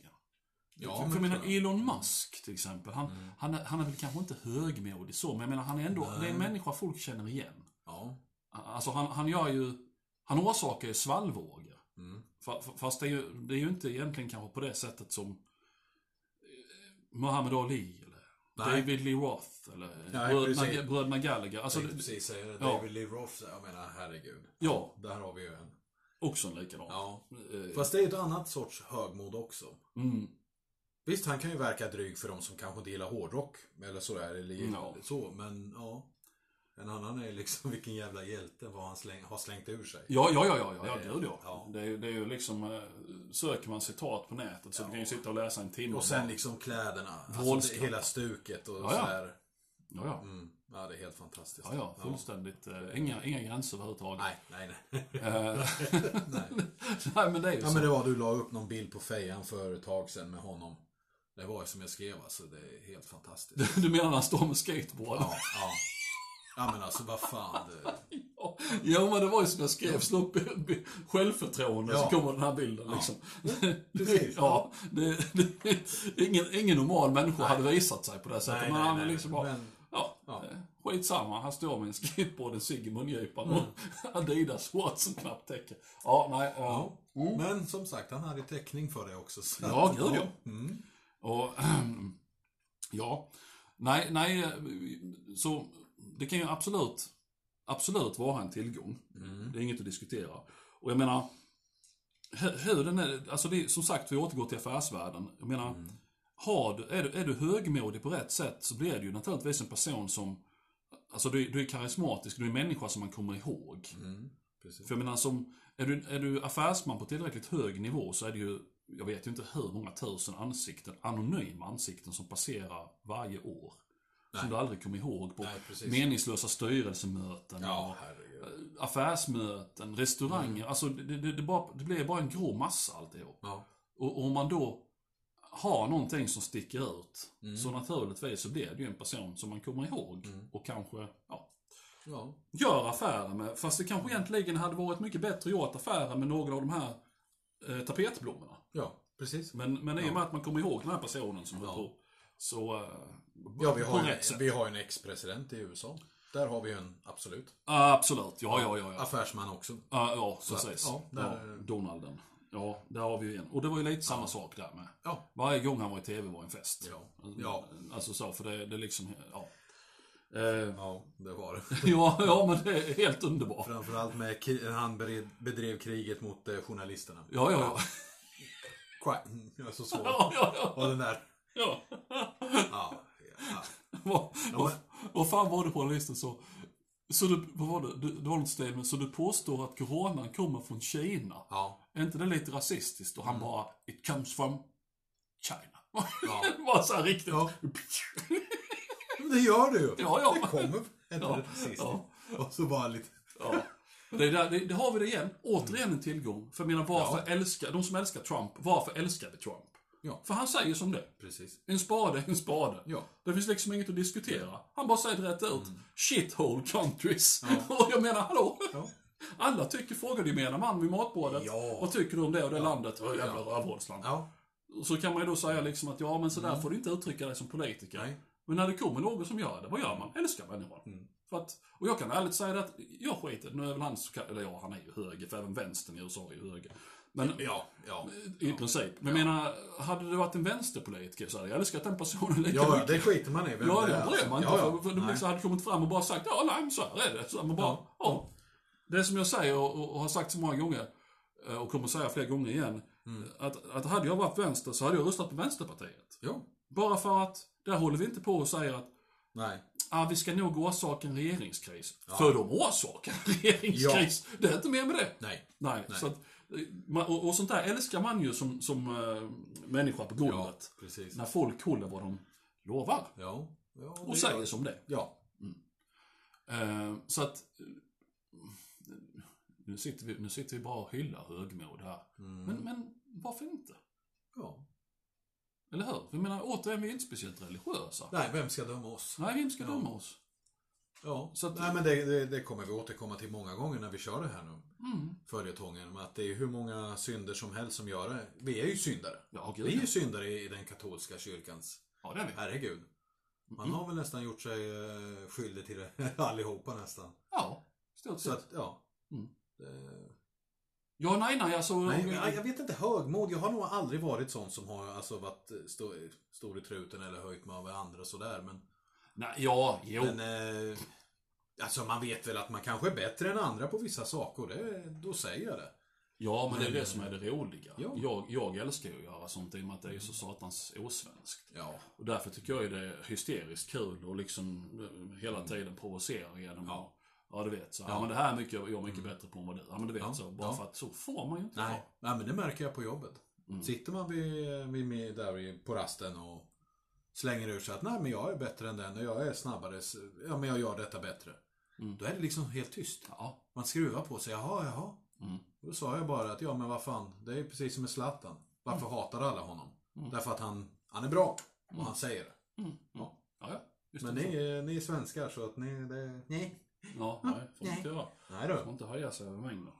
[SPEAKER 2] Ja,
[SPEAKER 1] för
[SPEAKER 2] men Mm.
[SPEAKER 1] jag menar
[SPEAKER 2] tror jag.
[SPEAKER 1] Elon Musk till exempel, han, han, är, han är väl kanske inte högmodig så, men jag menar han är ändå, det är en människa folk känner igen.
[SPEAKER 2] Ja,
[SPEAKER 1] Alltså han, han gör ju, han orsakar ju svallvågor.
[SPEAKER 2] mm.
[SPEAKER 1] Fa- fa- Fast det är, ju, det är ju inte egentligen kanske på det sättet som eh, Muhammad Ali eller
[SPEAKER 2] Nej.
[SPEAKER 1] David Lee Roth eller
[SPEAKER 2] Nej,
[SPEAKER 1] bröderna,
[SPEAKER 2] precis.
[SPEAKER 1] bröderna Gallagher. Alltså,
[SPEAKER 2] jag tänkte
[SPEAKER 1] det-
[SPEAKER 2] precis säga det.
[SPEAKER 1] ja.
[SPEAKER 2] David Lee Roth, jag menar herregud.
[SPEAKER 1] Ja.
[SPEAKER 2] Där har vi ju en.
[SPEAKER 1] Också en likadan.
[SPEAKER 2] Ja.
[SPEAKER 1] Eh,
[SPEAKER 2] Fast det är ju ett annat sorts högmod också.
[SPEAKER 1] Mm.
[SPEAKER 2] Visst, han kan ju verka dryg för de som kanske inte gillar hårdrock. Eller sådär, eller
[SPEAKER 1] Ja.
[SPEAKER 2] så. Men ja. En annan är liksom vilken jävla hjälte vad han släng, har slängt ur sig.
[SPEAKER 1] Ja, ja, ja, ja, ja, ja
[SPEAKER 2] Det-
[SPEAKER 1] gud ja.
[SPEAKER 2] ja.
[SPEAKER 1] Det, är, ju- det är ju liksom, eh, söker man citat på nätet så du kan ju sitta och läsa en timme.
[SPEAKER 2] Och sen liksom kläderna. Alltså, det,
[SPEAKER 1] Vrålskallar.
[SPEAKER 2] hela stuket och
[SPEAKER 1] ja.
[SPEAKER 2] sådär. Mm.
[SPEAKER 1] Ja, ja.
[SPEAKER 2] Ja, det är helt fantastiskt.
[SPEAKER 1] Ja, ja, fullständigt. eh, Inga, inga gränser överhuvudtaget.
[SPEAKER 2] Nej, nej, nej.
[SPEAKER 1] Eh,
[SPEAKER 2] nej.
[SPEAKER 1] nej, men det är ju
[SPEAKER 2] Ja,
[SPEAKER 1] så.
[SPEAKER 2] men det var du la upp någon bild på Fejan för ett tag sedan med honom. Det var ju som jag skrev alltså, det är helt fantastiskt.
[SPEAKER 1] Du menar när han står med skateboard?
[SPEAKER 2] Ja, ja. Ja men alltså vad fan. Det...
[SPEAKER 1] Ja, men det var ju som jag skrev, slå upp b- självförtroende
[SPEAKER 2] Ja.
[SPEAKER 1] så kommer den här bilden liksom.
[SPEAKER 2] precis.
[SPEAKER 1] Ja, det, det, ingen, ingen normal människa hade visat sig på det sättet. men han liksom bara,
[SPEAKER 2] Men,
[SPEAKER 1] ja,
[SPEAKER 2] Ja.
[SPEAKER 1] eh, skitsamma. Han står med en skateboard, en cigg i mungipan
[SPEAKER 2] Mm.
[SPEAKER 1] och Adidas shorts och knappt täcke. Ja, nej. Ja,
[SPEAKER 2] ja. men som sagt, han hade ju täckning för det också. Så.
[SPEAKER 1] ja gud ja.
[SPEAKER 2] Mm.
[SPEAKER 1] Och, ehm, ja. Nej, nej, eh, så det kan ju absolut, absolut vara en tillgång.
[SPEAKER 2] Mm.
[SPEAKER 1] Det är inget att diskutera. Och jag menar, hu- hur den är, alltså det är, som sagt, vi återgår till affärsvärlden. Jag menar,
[SPEAKER 2] Mm.
[SPEAKER 1] har du, är, du, är du högmodig på rätt sätt så blir du ju naturligtvis en person som, alltså du, du är karismatisk, du är en människa som man kommer ihåg.
[SPEAKER 2] Mm. Precis.
[SPEAKER 1] För jag menar, som, är, du, är du affärsman på tillräckligt hög nivå så är det ju, jag vet ju inte hur många tusen ansikten, anonyma ansikten som passerar varje år. Som
[SPEAKER 2] Nej.
[SPEAKER 1] du aldrig kommer ihåg på
[SPEAKER 2] Nej, precis.
[SPEAKER 1] meningslösa styrelsemöten.
[SPEAKER 2] Ja, Mm.
[SPEAKER 1] och-
[SPEAKER 2] herregud.
[SPEAKER 1] eh, affärsmöten, restauranger. Alltså det, det, det, bara, det blir bara en grå massa alltihop.
[SPEAKER 2] Ja.
[SPEAKER 1] Och, och om man då har någonting som sticker ut,
[SPEAKER 2] Mm.
[SPEAKER 1] så naturligtvis så blir det ju en person som man kommer ihåg och kanske ja,
[SPEAKER 2] Ja.
[SPEAKER 1] gör affärer med. Fast det kanske egentligen hade varit mycket bättre att göra affärer med några av de här eh, tapetblommorna.
[SPEAKER 2] ja, precis.
[SPEAKER 1] Men, men i och med att man kommer ihåg den här personen som höll
[SPEAKER 2] Ja.
[SPEAKER 1] på, så... Eh,
[SPEAKER 2] Ja, vi har,
[SPEAKER 1] på
[SPEAKER 2] ju,
[SPEAKER 1] rätt sätt.
[SPEAKER 2] vi har ju en ex-president i USA. Där har vi ju en, absolut.
[SPEAKER 1] Absolut, ja, ja, ja. ja.
[SPEAKER 2] Affärsman också.
[SPEAKER 1] Ja, ja
[SPEAKER 2] att,
[SPEAKER 1] precis.
[SPEAKER 2] ja,
[SPEAKER 1] Ja,
[SPEAKER 2] där-
[SPEAKER 1] Donalden. Ja, där har vi ju en. Och det var ju lite samma sak där med.
[SPEAKER 2] Ja.
[SPEAKER 1] Varje gång han var i TV var en fest.
[SPEAKER 2] Ja. Ja.
[SPEAKER 1] Alltså så, för det, det liksom, ja. Eh,
[SPEAKER 2] Ja, det var det.
[SPEAKER 1] ja, ja, men det är helt underbart.
[SPEAKER 2] Framförallt med kri- när han bered, bedrev kriget mot eh, journalisterna.
[SPEAKER 1] Ja, ja, ja.
[SPEAKER 2] Qua- Mm, Jag så svår.
[SPEAKER 1] ja, ja,
[SPEAKER 2] Och den där.
[SPEAKER 1] ja.
[SPEAKER 2] Ja. ja.
[SPEAKER 1] Vad, vad,
[SPEAKER 2] men-
[SPEAKER 1] vad fan var det på den listan så? Så du, vad var det? Du, det var något ställe, men så du påstår att coronan kommer från Kina.
[SPEAKER 2] ja.
[SPEAKER 1] Är inte det lite rasistiskt? Och han
[SPEAKER 2] Mm.
[SPEAKER 1] bara, it comes from China.
[SPEAKER 2] Ja.
[SPEAKER 1] bara så här riktigt.
[SPEAKER 2] Ja. Men det gör du ju.
[SPEAKER 1] Ja, ja.
[SPEAKER 2] Det kommer. Är
[SPEAKER 1] Ja,
[SPEAKER 2] det precis.
[SPEAKER 1] ja.
[SPEAKER 2] Och så bara lite.
[SPEAKER 1] Ja. Det, där, det, det har vi det igen. Återigen en tillgång. För jag menar, varför älskar, de som älskar Trump, varför älskar vi Trump?
[SPEAKER 2] Ja.
[SPEAKER 1] För han säger som det.
[SPEAKER 2] Precis.
[SPEAKER 1] En spade är en spade.
[SPEAKER 2] Ja. Mm.
[SPEAKER 1] Det finns liksom inget att diskutera. Han bara säger det rätt ut. Shithole countries. Och jag menar, hallå?
[SPEAKER 2] Ja.
[SPEAKER 1] Alla tycker, frågar ju gemene man vid matbordet.
[SPEAKER 2] Ja.
[SPEAKER 1] Vad tycker du om det och det landet? Och jävla rövhålsland.
[SPEAKER 2] Ja.
[SPEAKER 1] Så kan man ju då säga liksom att ja, men sådär får du inte uttrycka dig som politiker.
[SPEAKER 2] Mm. Nej.
[SPEAKER 1] Men när det kommer någon som gör det, vad gör man? Älskar människan.
[SPEAKER 2] Mm.
[SPEAKER 1] För att, och jag kan ärligt säga det att jag skiter nu är väl han så kall- eller ja, han är ju höger, för även vänstern i USA är ju höger. Men eh,
[SPEAKER 2] Ja. Ja.
[SPEAKER 1] i princip. Men jag menar, hade det varit en vänsterpolitiker så hade jag älskat den personen lika
[SPEAKER 2] Ja,
[SPEAKER 1] mycket.
[SPEAKER 2] det skiter man i. Vem
[SPEAKER 1] Ja,
[SPEAKER 2] det
[SPEAKER 1] det
[SPEAKER 2] är.
[SPEAKER 1] bryr man inte.
[SPEAKER 2] Ja,
[SPEAKER 1] För, för de
[SPEAKER 2] Nej.
[SPEAKER 1] liksom hade kommit fram och bara sagt ja, nej, men så här är det. Så man bara, ja. Det som jag säger och, och, och har sagt så många gånger eh, och kommer säga fler gånger igen.
[SPEAKER 2] Mm.
[SPEAKER 1] Att, att hade jag varit vänster så hade jag röstat på Vänsterpartiet.
[SPEAKER 2] Ja.
[SPEAKER 1] Bara för att där håller vi inte på och säger att
[SPEAKER 2] Nej.
[SPEAKER 1] ah, vi ska nog orsaka en regeringskris. För de orsakar en regeringskris. Det är inte mer med det.
[SPEAKER 2] Nej.
[SPEAKER 1] Nej, Så att, eh, man, och, och sånt där älskar man ju som, som eh, människa på
[SPEAKER 2] Ja.
[SPEAKER 1] golvet.
[SPEAKER 2] Precis.
[SPEAKER 1] När folk håller vad de lovar
[SPEAKER 2] Ja. ja det
[SPEAKER 1] och
[SPEAKER 2] gör-
[SPEAKER 1] säger som det.
[SPEAKER 2] Ja.
[SPEAKER 1] Eh, så att... eh, Nu sitter vi, nu sitter vi bara och hyllar högmod här.
[SPEAKER 2] Mm.
[SPEAKER 1] Men, men varför inte?
[SPEAKER 2] ja.
[SPEAKER 1] Eller hur? Jag menar, återigen, vi är inte speciellt religiösa.
[SPEAKER 2] Nej, vem ska döma oss?
[SPEAKER 1] Nej, vem ska döma oss?
[SPEAKER 2] Ja,
[SPEAKER 1] Så att-
[SPEAKER 2] Nej, men det, det, det kommer vi återkomma till många gånger när vi kör det här nu.
[SPEAKER 1] Mm.
[SPEAKER 2] Följetongen. Att det är hur många synder som helst som gör det. Vi är ju syndare.
[SPEAKER 1] Ja,
[SPEAKER 2] Vi är ju
[SPEAKER 1] gud.
[SPEAKER 2] syndare i den katolska kyrkans.
[SPEAKER 1] Ja, det är vi.
[SPEAKER 2] Herregud. Man har väl nästan gjort sig eh, skyldig till det allihopa nästan.
[SPEAKER 1] Ja, stort
[SPEAKER 2] Så
[SPEAKER 1] sett.
[SPEAKER 2] att, ja.
[SPEAKER 1] Mm.
[SPEAKER 2] Det-
[SPEAKER 1] Ja, nej, nej, alltså...
[SPEAKER 2] Nej, men Mm. jag, jag vet inte, högmod. Jag har nog aldrig varit sån som har alltså, varit eh, stå, stor i truten eller höjt mig över andra och sådär. Men,
[SPEAKER 1] nej, ja, jo.
[SPEAKER 2] men eh, alltså man vet väl att man kanske är bättre än andra på vissa saker. Det, då säger jag det.
[SPEAKER 1] Ja, men det är
[SPEAKER 2] Men-
[SPEAKER 1] det som är det roliga.
[SPEAKER 2] Ja.
[SPEAKER 1] Jag, jag älskar ju att göra sånt i och med att det är ju så satans osvenskt.
[SPEAKER 2] Ja,
[SPEAKER 1] Och därför tycker jag ju det är hysteriskt kul och liksom eh, hela tiden provocera genom ja.
[SPEAKER 2] Ja.
[SPEAKER 1] ja, du vet. Så, ja.
[SPEAKER 2] Ja.
[SPEAKER 1] men det här är mycket, jag är mycket bättre på än vad du Ja, men du vet
[SPEAKER 2] Ja.
[SPEAKER 1] så. Bara
[SPEAKER 2] Ja.
[SPEAKER 1] för att så får man ju inte
[SPEAKER 2] nej.
[SPEAKER 1] vara.
[SPEAKER 2] nej men det märker jag på jobbet.
[SPEAKER 1] Mm.
[SPEAKER 2] Sitter man vid, vid, med där i- på rasten och slänger ur sig att nej men jag är bättre än den och jag är snabbare, så- ja men jag gör detta bättre.
[SPEAKER 1] Mm.
[SPEAKER 2] Då är det liksom helt tyst.
[SPEAKER 1] Ja.
[SPEAKER 2] Man skruvar på sig, jaha, jaha.
[SPEAKER 1] Mm.
[SPEAKER 2] Och Då sa jag bara att ja men vad fan, det är precis som med Zlatan. Varför hatar alla honom?
[SPEAKER 1] Mm.
[SPEAKER 2] Därför att han, han är bra. Och han säger det.
[SPEAKER 1] Mm. Ja,
[SPEAKER 2] Ja.
[SPEAKER 1] ja. Just
[SPEAKER 2] Men
[SPEAKER 1] det.
[SPEAKER 2] ni, är- ni är svenskar så att ni, det... Nej.
[SPEAKER 1] Ja, Mm. nej. Mm. Får man
[SPEAKER 2] Nej.
[SPEAKER 1] inte göra.
[SPEAKER 2] Nej då.
[SPEAKER 1] Får inte höja sig över Mm. mängden.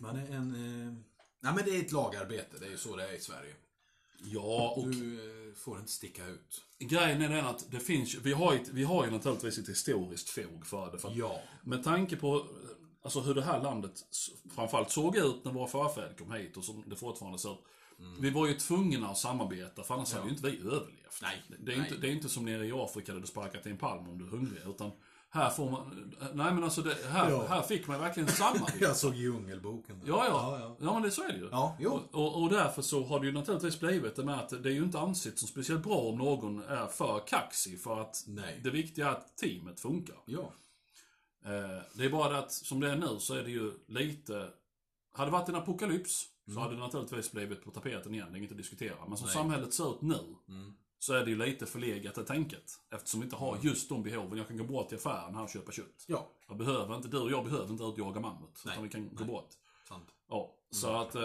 [SPEAKER 2] Man är en... Eh... Nej men det är ett lagarbete, det är ju så det är i Sverige.
[SPEAKER 1] Ja, och
[SPEAKER 2] Du eh, får inte sticka ut.
[SPEAKER 1] grejen är den att det finns ju- vi har, ju ett, vi har ju naturligtvis ett historiskt fog för det. För att
[SPEAKER 2] Ja.
[SPEAKER 1] Med tanke på alltså, hur det här landet s- framförallt såg ut när våra förfäder kom hit och som det fortfarande ser ut.
[SPEAKER 2] Mm.
[SPEAKER 1] Vi var ju tvungna att samarbeta för annars hade ju inte vi överlevt.
[SPEAKER 2] Nej,
[SPEAKER 1] Det- det, är ju
[SPEAKER 2] nej.
[SPEAKER 1] inte, det är inte som nere i Afrika där du sparkar till en palm om du är hungrig. Utan här får man... Nej men alltså, det, här,
[SPEAKER 2] Ja.
[SPEAKER 1] här fick man verkligen samarbeta.
[SPEAKER 2] Jag såg Djungelboken.
[SPEAKER 1] Ja,
[SPEAKER 2] ja.
[SPEAKER 1] ja.
[SPEAKER 2] Ja,
[SPEAKER 1] Ja, men det så är det ju.
[SPEAKER 2] ja jo.
[SPEAKER 1] Och, och därför så har det ju naturligtvis blivit det med att det är ju inte ansett som speciellt bra om någon är för kaxig för att
[SPEAKER 2] Nej.
[SPEAKER 1] det viktiga är att teamet funkar.
[SPEAKER 2] Ja.
[SPEAKER 1] Eh, det är bara det att som det är nu så är det ju lite... Hade det varit en apokalyps så hade det naturligtvis blivit på tapeten igen, det är inget att diskutera. Men som
[SPEAKER 2] Mm. Nej.
[SPEAKER 1] samhället ser ut nu
[SPEAKER 2] Mm.
[SPEAKER 1] så är det ju lite förlegat det tänket. Eftersom vi inte har just de behoven. Jag kan gå bort till affären här och köpa kött.
[SPEAKER 2] Ja.
[SPEAKER 1] Jag behöver inte, du och jag behöver inte utjaga mammut.
[SPEAKER 2] Nej.
[SPEAKER 1] Utan vi kan gå
[SPEAKER 2] Nej. Mm.
[SPEAKER 1] bort.
[SPEAKER 2] Sant.
[SPEAKER 1] Ja, så att eh,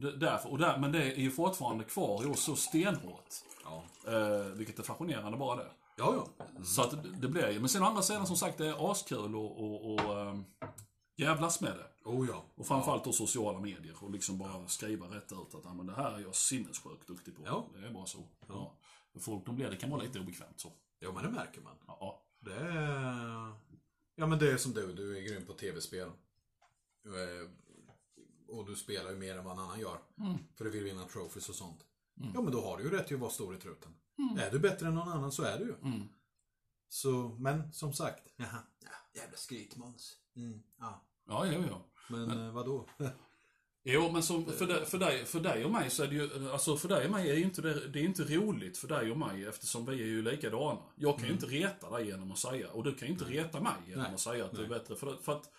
[SPEAKER 1] det- därför, och där, men det är ju fortfarande kvar i oss så stenhårt.
[SPEAKER 2] Ja.
[SPEAKER 1] Eh, vilket är fascinerande bara det.
[SPEAKER 2] Ja, ja.
[SPEAKER 1] Så att det- det blir ju. Men sen å andra sidan som sagt, det är askul och, och, och ehm, jävlas med det.
[SPEAKER 2] Oh ja.
[SPEAKER 1] Och framförallt då sociala medier och liksom bara skriva rätt ut att "Ja, men det här är jag sinnessjukt duktig på.
[SPEAKER 2] Ja.
[SPEAKER 1] Det är bara så. Ja.
[SPEAKER 2] Ja.
[SPEAKER 1] Folk de blir, det kan vara lite obekvämt så.
[SPEAKER 2] Ja, men det märker man.
[SPEAKER 1] Ja, Ja.
[SPEAKER 2] Det är... Ja, men det är som du. Du är grym på tv-spel. Du är- Och du spelar ju mer än vad en annan gör.
[SPEAKER 1] Mm.
[SPEAKER 2] För du vill vinna trophies och sånt. Ja, men då har du ju rätt till att vara stor i truten. Är du bättre än någon annan så är du ju.
[SPEAKER 1] Mm.
[SPEAKER 2] Så, men som sagt. Jaha. Ja, jävla skrytmåns. Mm. Ja.
[SPEAKER 1] Ja, jo, jo.
[SPEAKER 2] Men, men vadå?
[SPEAKER 1] Jo, men som, för, dig, för, dig, för dig och mig så är det ju, alltså för dig och mig är ju inte det, det är ju inte roligt för dig och mig eftersom vi är ju likadana. Jag kan ju inte reta dig genom att säga, och du kan ju inte reta mig genom
[SPEAKER 2] Mm. Nej.
[SPEAKER 1] att säga att du är bättre. För, för att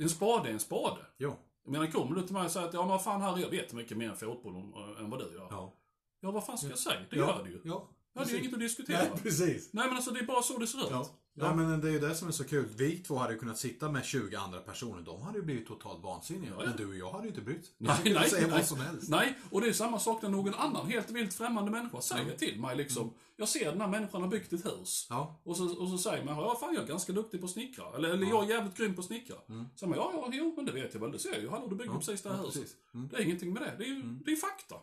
[SPEAKER 1] en spade är en spade.
[SPEAKER 2] Jo.
[SPEAKER 1] Jag menar, kommer du till mig och säger att ja, men vad fan här, jag vet mycket mer än fotboll om, äh, än vad du gör. Ja.
[SPEAKER 2] Ja.
[SPEAKER 1] vad fan ska jag säga? Det
[SPEAKER 2] ja.
[SPEAKER 1] gör du ju.
[SPEAKER 2] Ja.
[SPEAKER 1] Ja, det är ju inget att diskutera.
[SPEAKER 2] Nej,
[SPEAKER 1] Nej.
[SPEAKER 2] precis.
[SPEAKER 1] men alltså det är bara så det ser ut.
[SPEAKER 2] Ja. Nej, men det är ju det som är så kul. Vi två hade ju kunnat sitta med 20 andra personer. De hade ju blivit totalt vansinniga.
[SPEAKER 1] Ja, ja.
[SPEAKER 2] Men du och jag hade ju inte brytt
[SPEAKER 1] Nej,
[SPEAKER 2] Jag kunde
[SPEAKER 1] nej,
[SPEAKER 2] säga
[SPEAKER 1] nej.
[SPEAKER 2] vad som helst.
[SPEAKER 1] Nej, och det är samma sak när någon annan helt vilt främmande människa säger till mig
[SPEAKER 2] Mm.
[SPEAKER 1] liksom, jag ser den här människan har byggt ett hus.
[SPEAKER 2] Ja.
[SPEAKER 1] Och så, och så säger man, ja fan jag är ganska duktig på att snickra. Eller, eller jag är jävligt grym på att snickra. Så man, ja, ja, jo, men det vet jag väl, det ser jag ju. Hallå, du bygger precis det här
[SPEAKER 2] Mm. ja,
[SPEAKER 1] huset.
[SPEAKER 2] precis. Mm.
[SPEAKER 1] Det är ingenting med det, det är ju det är fakta.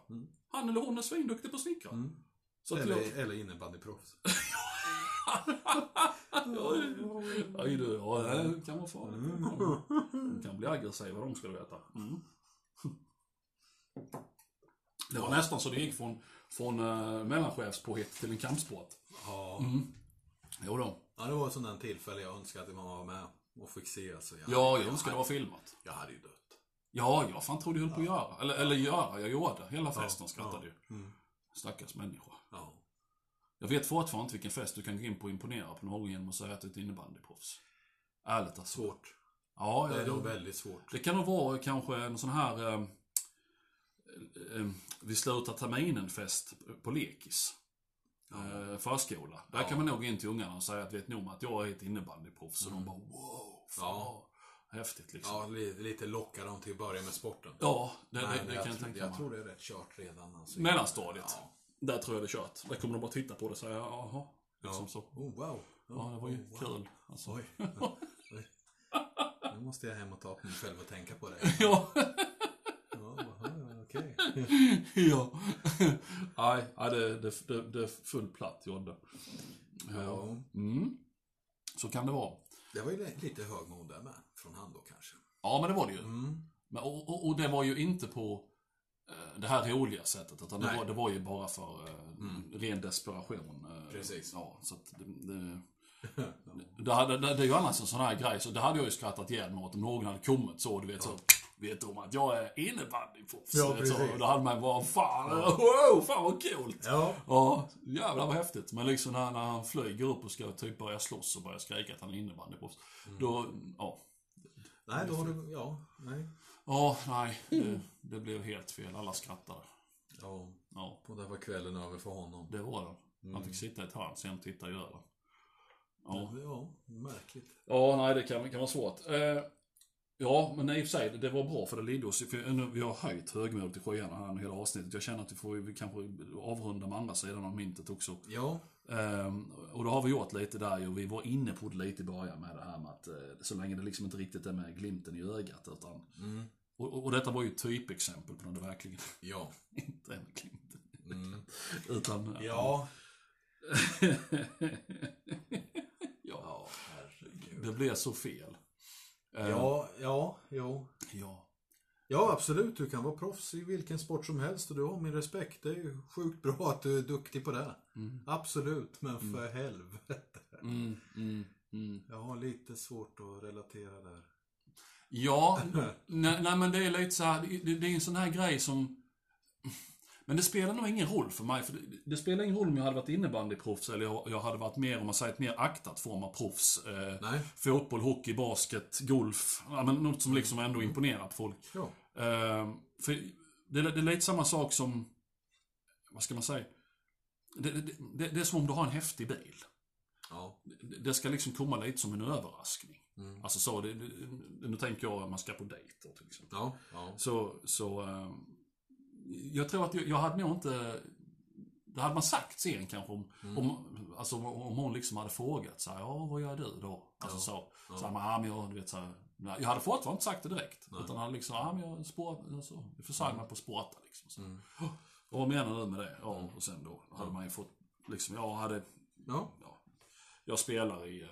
[SPEAKER 1] Han eller hon är svinduktig på att snickra. Så att jag...
[SPEAKER 2] Mm. Eller, eller innebandyproffs.
[SPEAKER 1] Aj du, ja det kan vara farligt. De kan bli aggressiva de ska du veta. Det var nästan så det gick från, från uh, mellanchefspåhitt till en kampsport.
[SPEAKER 2] Ja.
[SPEAKER 1] Mm. Jo då.
[SPEAKER 2] ja, det var ett sånt där tillfälle jag önskade att man var med och fick se. Alltså, jag,
[SPEAKER 1] Ja, jag önskar det var filmat.
[SPEAKER 2] jag hade ju dött.
[SPEAKER 1] Ja, jag fan trodde jag höll på att göra. Eller, eller göra, jag gjorde. Hela festen skrattade ju.
[SPEAKER 2] Mm.
[SPEAKER 1] Stackars människa.
[SPEAKER 2] Ja.
[SPEAKER 1] Jag vet fortfarande inte vilken fest du kan gå in på och imponera på någon genom att säga att du är ett innebandyproffs. Ärligt alltså.
[SPEAKER 2] Svårt.
[SPEAKER 1] Ja,
[SPEAKER 2] Det är
[SPEAKER 1] jag,
[SPEAKER 2] nog
[SPEAKER 1] jag,
[SPEAKER 2] väldigt svårt.
[SPEAKER 1] Det kan nog vara kanske en sån här eh, eh, vi slutar terminen-fest på lekis. Eh, förskola. Där kan man nog gå in till ungarna och säga att vet ni om att jag är ett innebandyproffs? Och de bara wow, fan vad
[SPEAKER 2] Mm. Ja.
[SPEAKER 1] häftigt liksom. Ja,
[SPEAKER 2] Ja, li- lite locka dem till att börja med sporten.
[SPEAKER 1] det,
[SPEAKER 2] Nej,
[SPEAKER 1] det,
[SPEAKER 2] men
[SPEAKER 1] det kan
[SPEAKER 2] jag,
[SPEAKER 1] jag
[SPEAKER 2] tror,
[SPEAKER 1] tänka
[SPEAKER 2] jag
[SPEAKER 1] mig.
[SPEAKER 2] tror det är rätt kört redan. Alltså.
[SPEAKER 1] Mellanstadiet.
[SPEAKER 2] Ja.
[SPEAKER 1] Där tror jag det är kört. Där kommer de bara titta på det och säga jaha. Liksom
[SPEAKER 2] Ja.
[SPEAKER 1] så.
[SPEAKER 2] Oh, wow.
[SPEAKER 1] Ja, det var ju
[SPEAKER 2] Oh, wow.
[SPEAKER 1] kul. Alltså.
[SPEAKER 2] Oj. Oj. Nu måste jag hem och ta på mig själv och tänka på det.
[SPEAKER 1] Ja.
[SPEAKER 2] Ja, aha, okej.
[SPEAKER 1] ja. Nej, nej, det, det, det, det är full platt, Jodde. Ja.
[SPEAKER 2] Ja,
[SPEAKER 1] Mm. Så kan det vara.
[SPEAKER 2] det var ju li- lite högmod där med, från han då kanske.
[SPEAKER 1] Ja, men det var det ju.
[SPEAKER 2] Mm.
[SPEAKER 1] Men, och, och, och det var ju inte på eh, det här roliga sättet, utan det
[SPEAKER 2] Nej. Mm.
[SPEAKER 1] var, det var ju bara för eh, ren desperation. eh,
[SPEAKER 2] Precis.
[SPEAKER 1] Ja, så att det, det, det, hade, det, det är ju annars en sån här grej, så det hade jag ju skrattat ihjäl mig åt om någon hade kommit så, du vet så. Vet du om att jag är innebandyproffs?
[SPEAKER 2] Ja,
[SPEAKER 1] Du vet, så,
[SPEAKER 2] precis.
[SPEAKER 1] och Då hade man bara, fan, wow, fan vad coolt!
[SPEAKER 2] Ja.
[SPEAKER 1] Ja, jävlar vad häftigt. Men liksom när, när han flyger upp och ska typ börja slåss och börja skrika att han är innebandyproffs.
[SPEAKER 2] Mm.
[SPEAKER 1] Då, ja.
[SPEAKER 2] Nej, då har du, ja, nej.
[SPEAKER 1] Ja, nej. Det, det blev helt fel. Alla skrattade.
[SPEAKER 2] Ja.
[SPEAKER 1] Ja,
[SPEAKER 2] Och där var kvällen över för honom.
[SPEAKER 1] det var den. Han fick sitta ett hörn, sen titta i ölen. Ja.
[SPEAKER 2] ja märkligt.
[SPEAKER 1] Ja, nej det kan, kan vara svårt. Eh, ja, men i och för sig, det var bra för det ledde oss. För nu, vi har höjt högmodet i skyarna här nu hela avsnittet. Jag känner att vi får vi kanske avrunda med andra sidan av myntet också.
[SPEAKER 2] Ja,
[SPEAKER 1] Ehm, och då har vi gjort lite där ju. Vi var inne på det lite i början med det här med att eh, så länge det liksom inte riktigt är med glimten i ögat. Utan, och, och- och detta var ju ett typexempel på när det verkligen
[SPEAKER 2] ja.
[SPEAKER 1] inte är med glimten.
[SPEAKER 2] Mm.
[SPEAKER 1] Utan... eh,
[SPEAKER 2] Ja.
[SPEAKER 1] ja,
[SPEAKER 2] Ja, herregud.
[SPEAKER 1] det blev så fel. Ehm,
[SPEAKER 2] Ja, ja, jo.
[SPEAKER 1] ja.
[SPEAKER 2] Ja, absolut. Du kan vara proffs i vilken sport som helst och du har min respekt. Det är ju sjukt bra att du är duktig på det. Absolut, men för helvete.
[SPEAKER 1] Mm, mm, mm.
[SPEAKER 2] Jag har lite svårt att relatera där.
[SPEAKER 1] Ja, nej, nej men det är lite så här, det, det är en sån här grej som... Men det spelar nog ingen roll för mig, för det, det spelar ingen roll om jag hade varit innebandyproffs eller jag, jag hade varit mer, om man säger ett mer aktat form av proffs. Eh,
[SPEAKER 2] Nej.
[SPEAKER 1] fotboll, hockey, basket, golf. Ja, men något som liksom ändå imponerat folk.
[SPEAKER 2] Ja.
[SPEAKER 1] Eh, för det, det är lite samma sak som... Vad ska man säga? Det, det, det, det är som om du har en häftig bil.
[SPEAKER 2] Ja.
[SPEAKER 1] Det det ska liksom komma lite som en överraskning.
[SPEAKER 2] Mm.
[SPEAKER 1] Alltså så, det, det, nu tänker jag att man ska på dejter till exempel.
[SPEAKER 2] Ja. ja.
[SPEAKER 1] Så, så eh, jag tror att jag, jag hade nog inte, det hade man sagt sen kanske om, om, alltså, om, om hon liksom hade frågat så här, ja vad gör du då? Alltså så, så här, men, ja, men jag, du vet så här, nej, jag hade fortfarande inte sagt det direkt. Utan hade liksom, ja men jag, spår, alltså, jag försörjer mig på sporta liksom. Så. "Åh, Och vad menar du med det? Mm. Ja, och sen då hade man ju fått, liksom, jag hade
[SPEAKER 2] Ja.
[SPEAKER 1] ja, jag spelar i eh,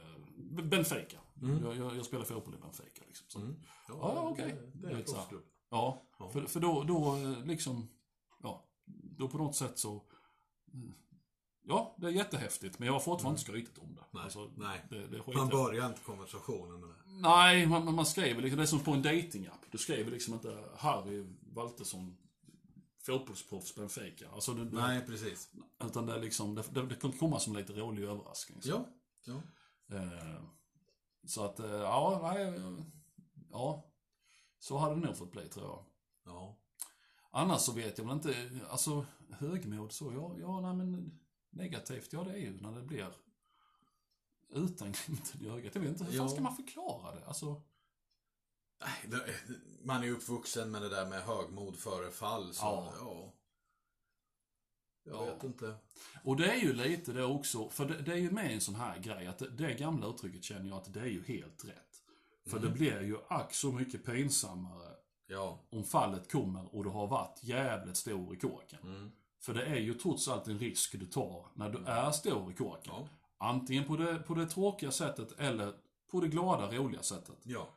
[SPEAKER 1] B- Benfica.
[SPEAKER 2] Mm.
[SPEAKER 1] Jag, jag, jag spelar fotboll i Benfica. Liksom, så. Ja, okej.
[SPEAKER 2] det- Mm. Det är en
[SPEAKER 1] Lite så här.
[SPEAKER 2] proffsklubb.
[SPEAKER 1] Ja, för, för då, då eh, liksom, ja, då på något sätt så, mm, ja, det är jättehäftigt, men jag har fortfarande inte skrytit om det.
[SPEAKER 2] Mm. Nej,
[SPEAKER 1] Alltså,
[SPEAKER 2] nej.
[SPEAKER 1] Det, det är skit-
[SPEAKER 2] Man börjar inte konversationen med det.
[SPEAKER 1] Nej, man, man- man skriver liksom, det är som på en datingapp. Du skriver liksom inte Harry Waltersson, fotbollsproffs Benfica. Alltså, det,
[SPEAKER 2] Nej, precis.
[SPEAKER 1] Utan det är liksom, det, det, det kan komma som en lite rolig överraskning. så.
[SPEAKER 2] Ja. ja.
[SPEAKER 1] Eh, Så att, eh, ja, nej, eh, ja. Så hade det nog fått bli tror jag.
[SPEAKER 2] Ja.
[SPEAKER 1] Annars så vet jag väl inte, alltså högmod så, ja, ja nej men negativt, ja det är ju när det blir utan glimten i ögat. Jag vet inte, hur fan
[SPEAKER 2] Ja.
[SPEAKER 1] ska man förklara det? Alltså,
[SPEAKER 2] Nej, det- Man är ju uppvuxen med det där med högmod före fall. Så,
[SPEAKER 1] Ja.
[SPEAKER 2] ja. ja. Jag
[SPEAKER 1] Ja.
[SPEAKER 2] vet inte.
[SPEAKER 1] och det är ju lite det också, för det, det är ju med en sån här grej, att det, det gamla uttrycket känner jag att det är ju helt rätt. För det blir ju ack så mycket pinsammare
[SPEAKER 2] Ja.
[SPEAKER 1] om fallet kommer och du har varit jävligt stor i kåken.
[SPEAKER 2] Mm.
[SPEAKER 1] För det är ju trots allt en risk du tar när du är stor i kåken.
[SPEAKER 2] Ja.
[SPEAKER 1] Antingen på det, på det tråkiga sättet eller på det glada, roliga sättet.
[SPEAKER 2] Ja.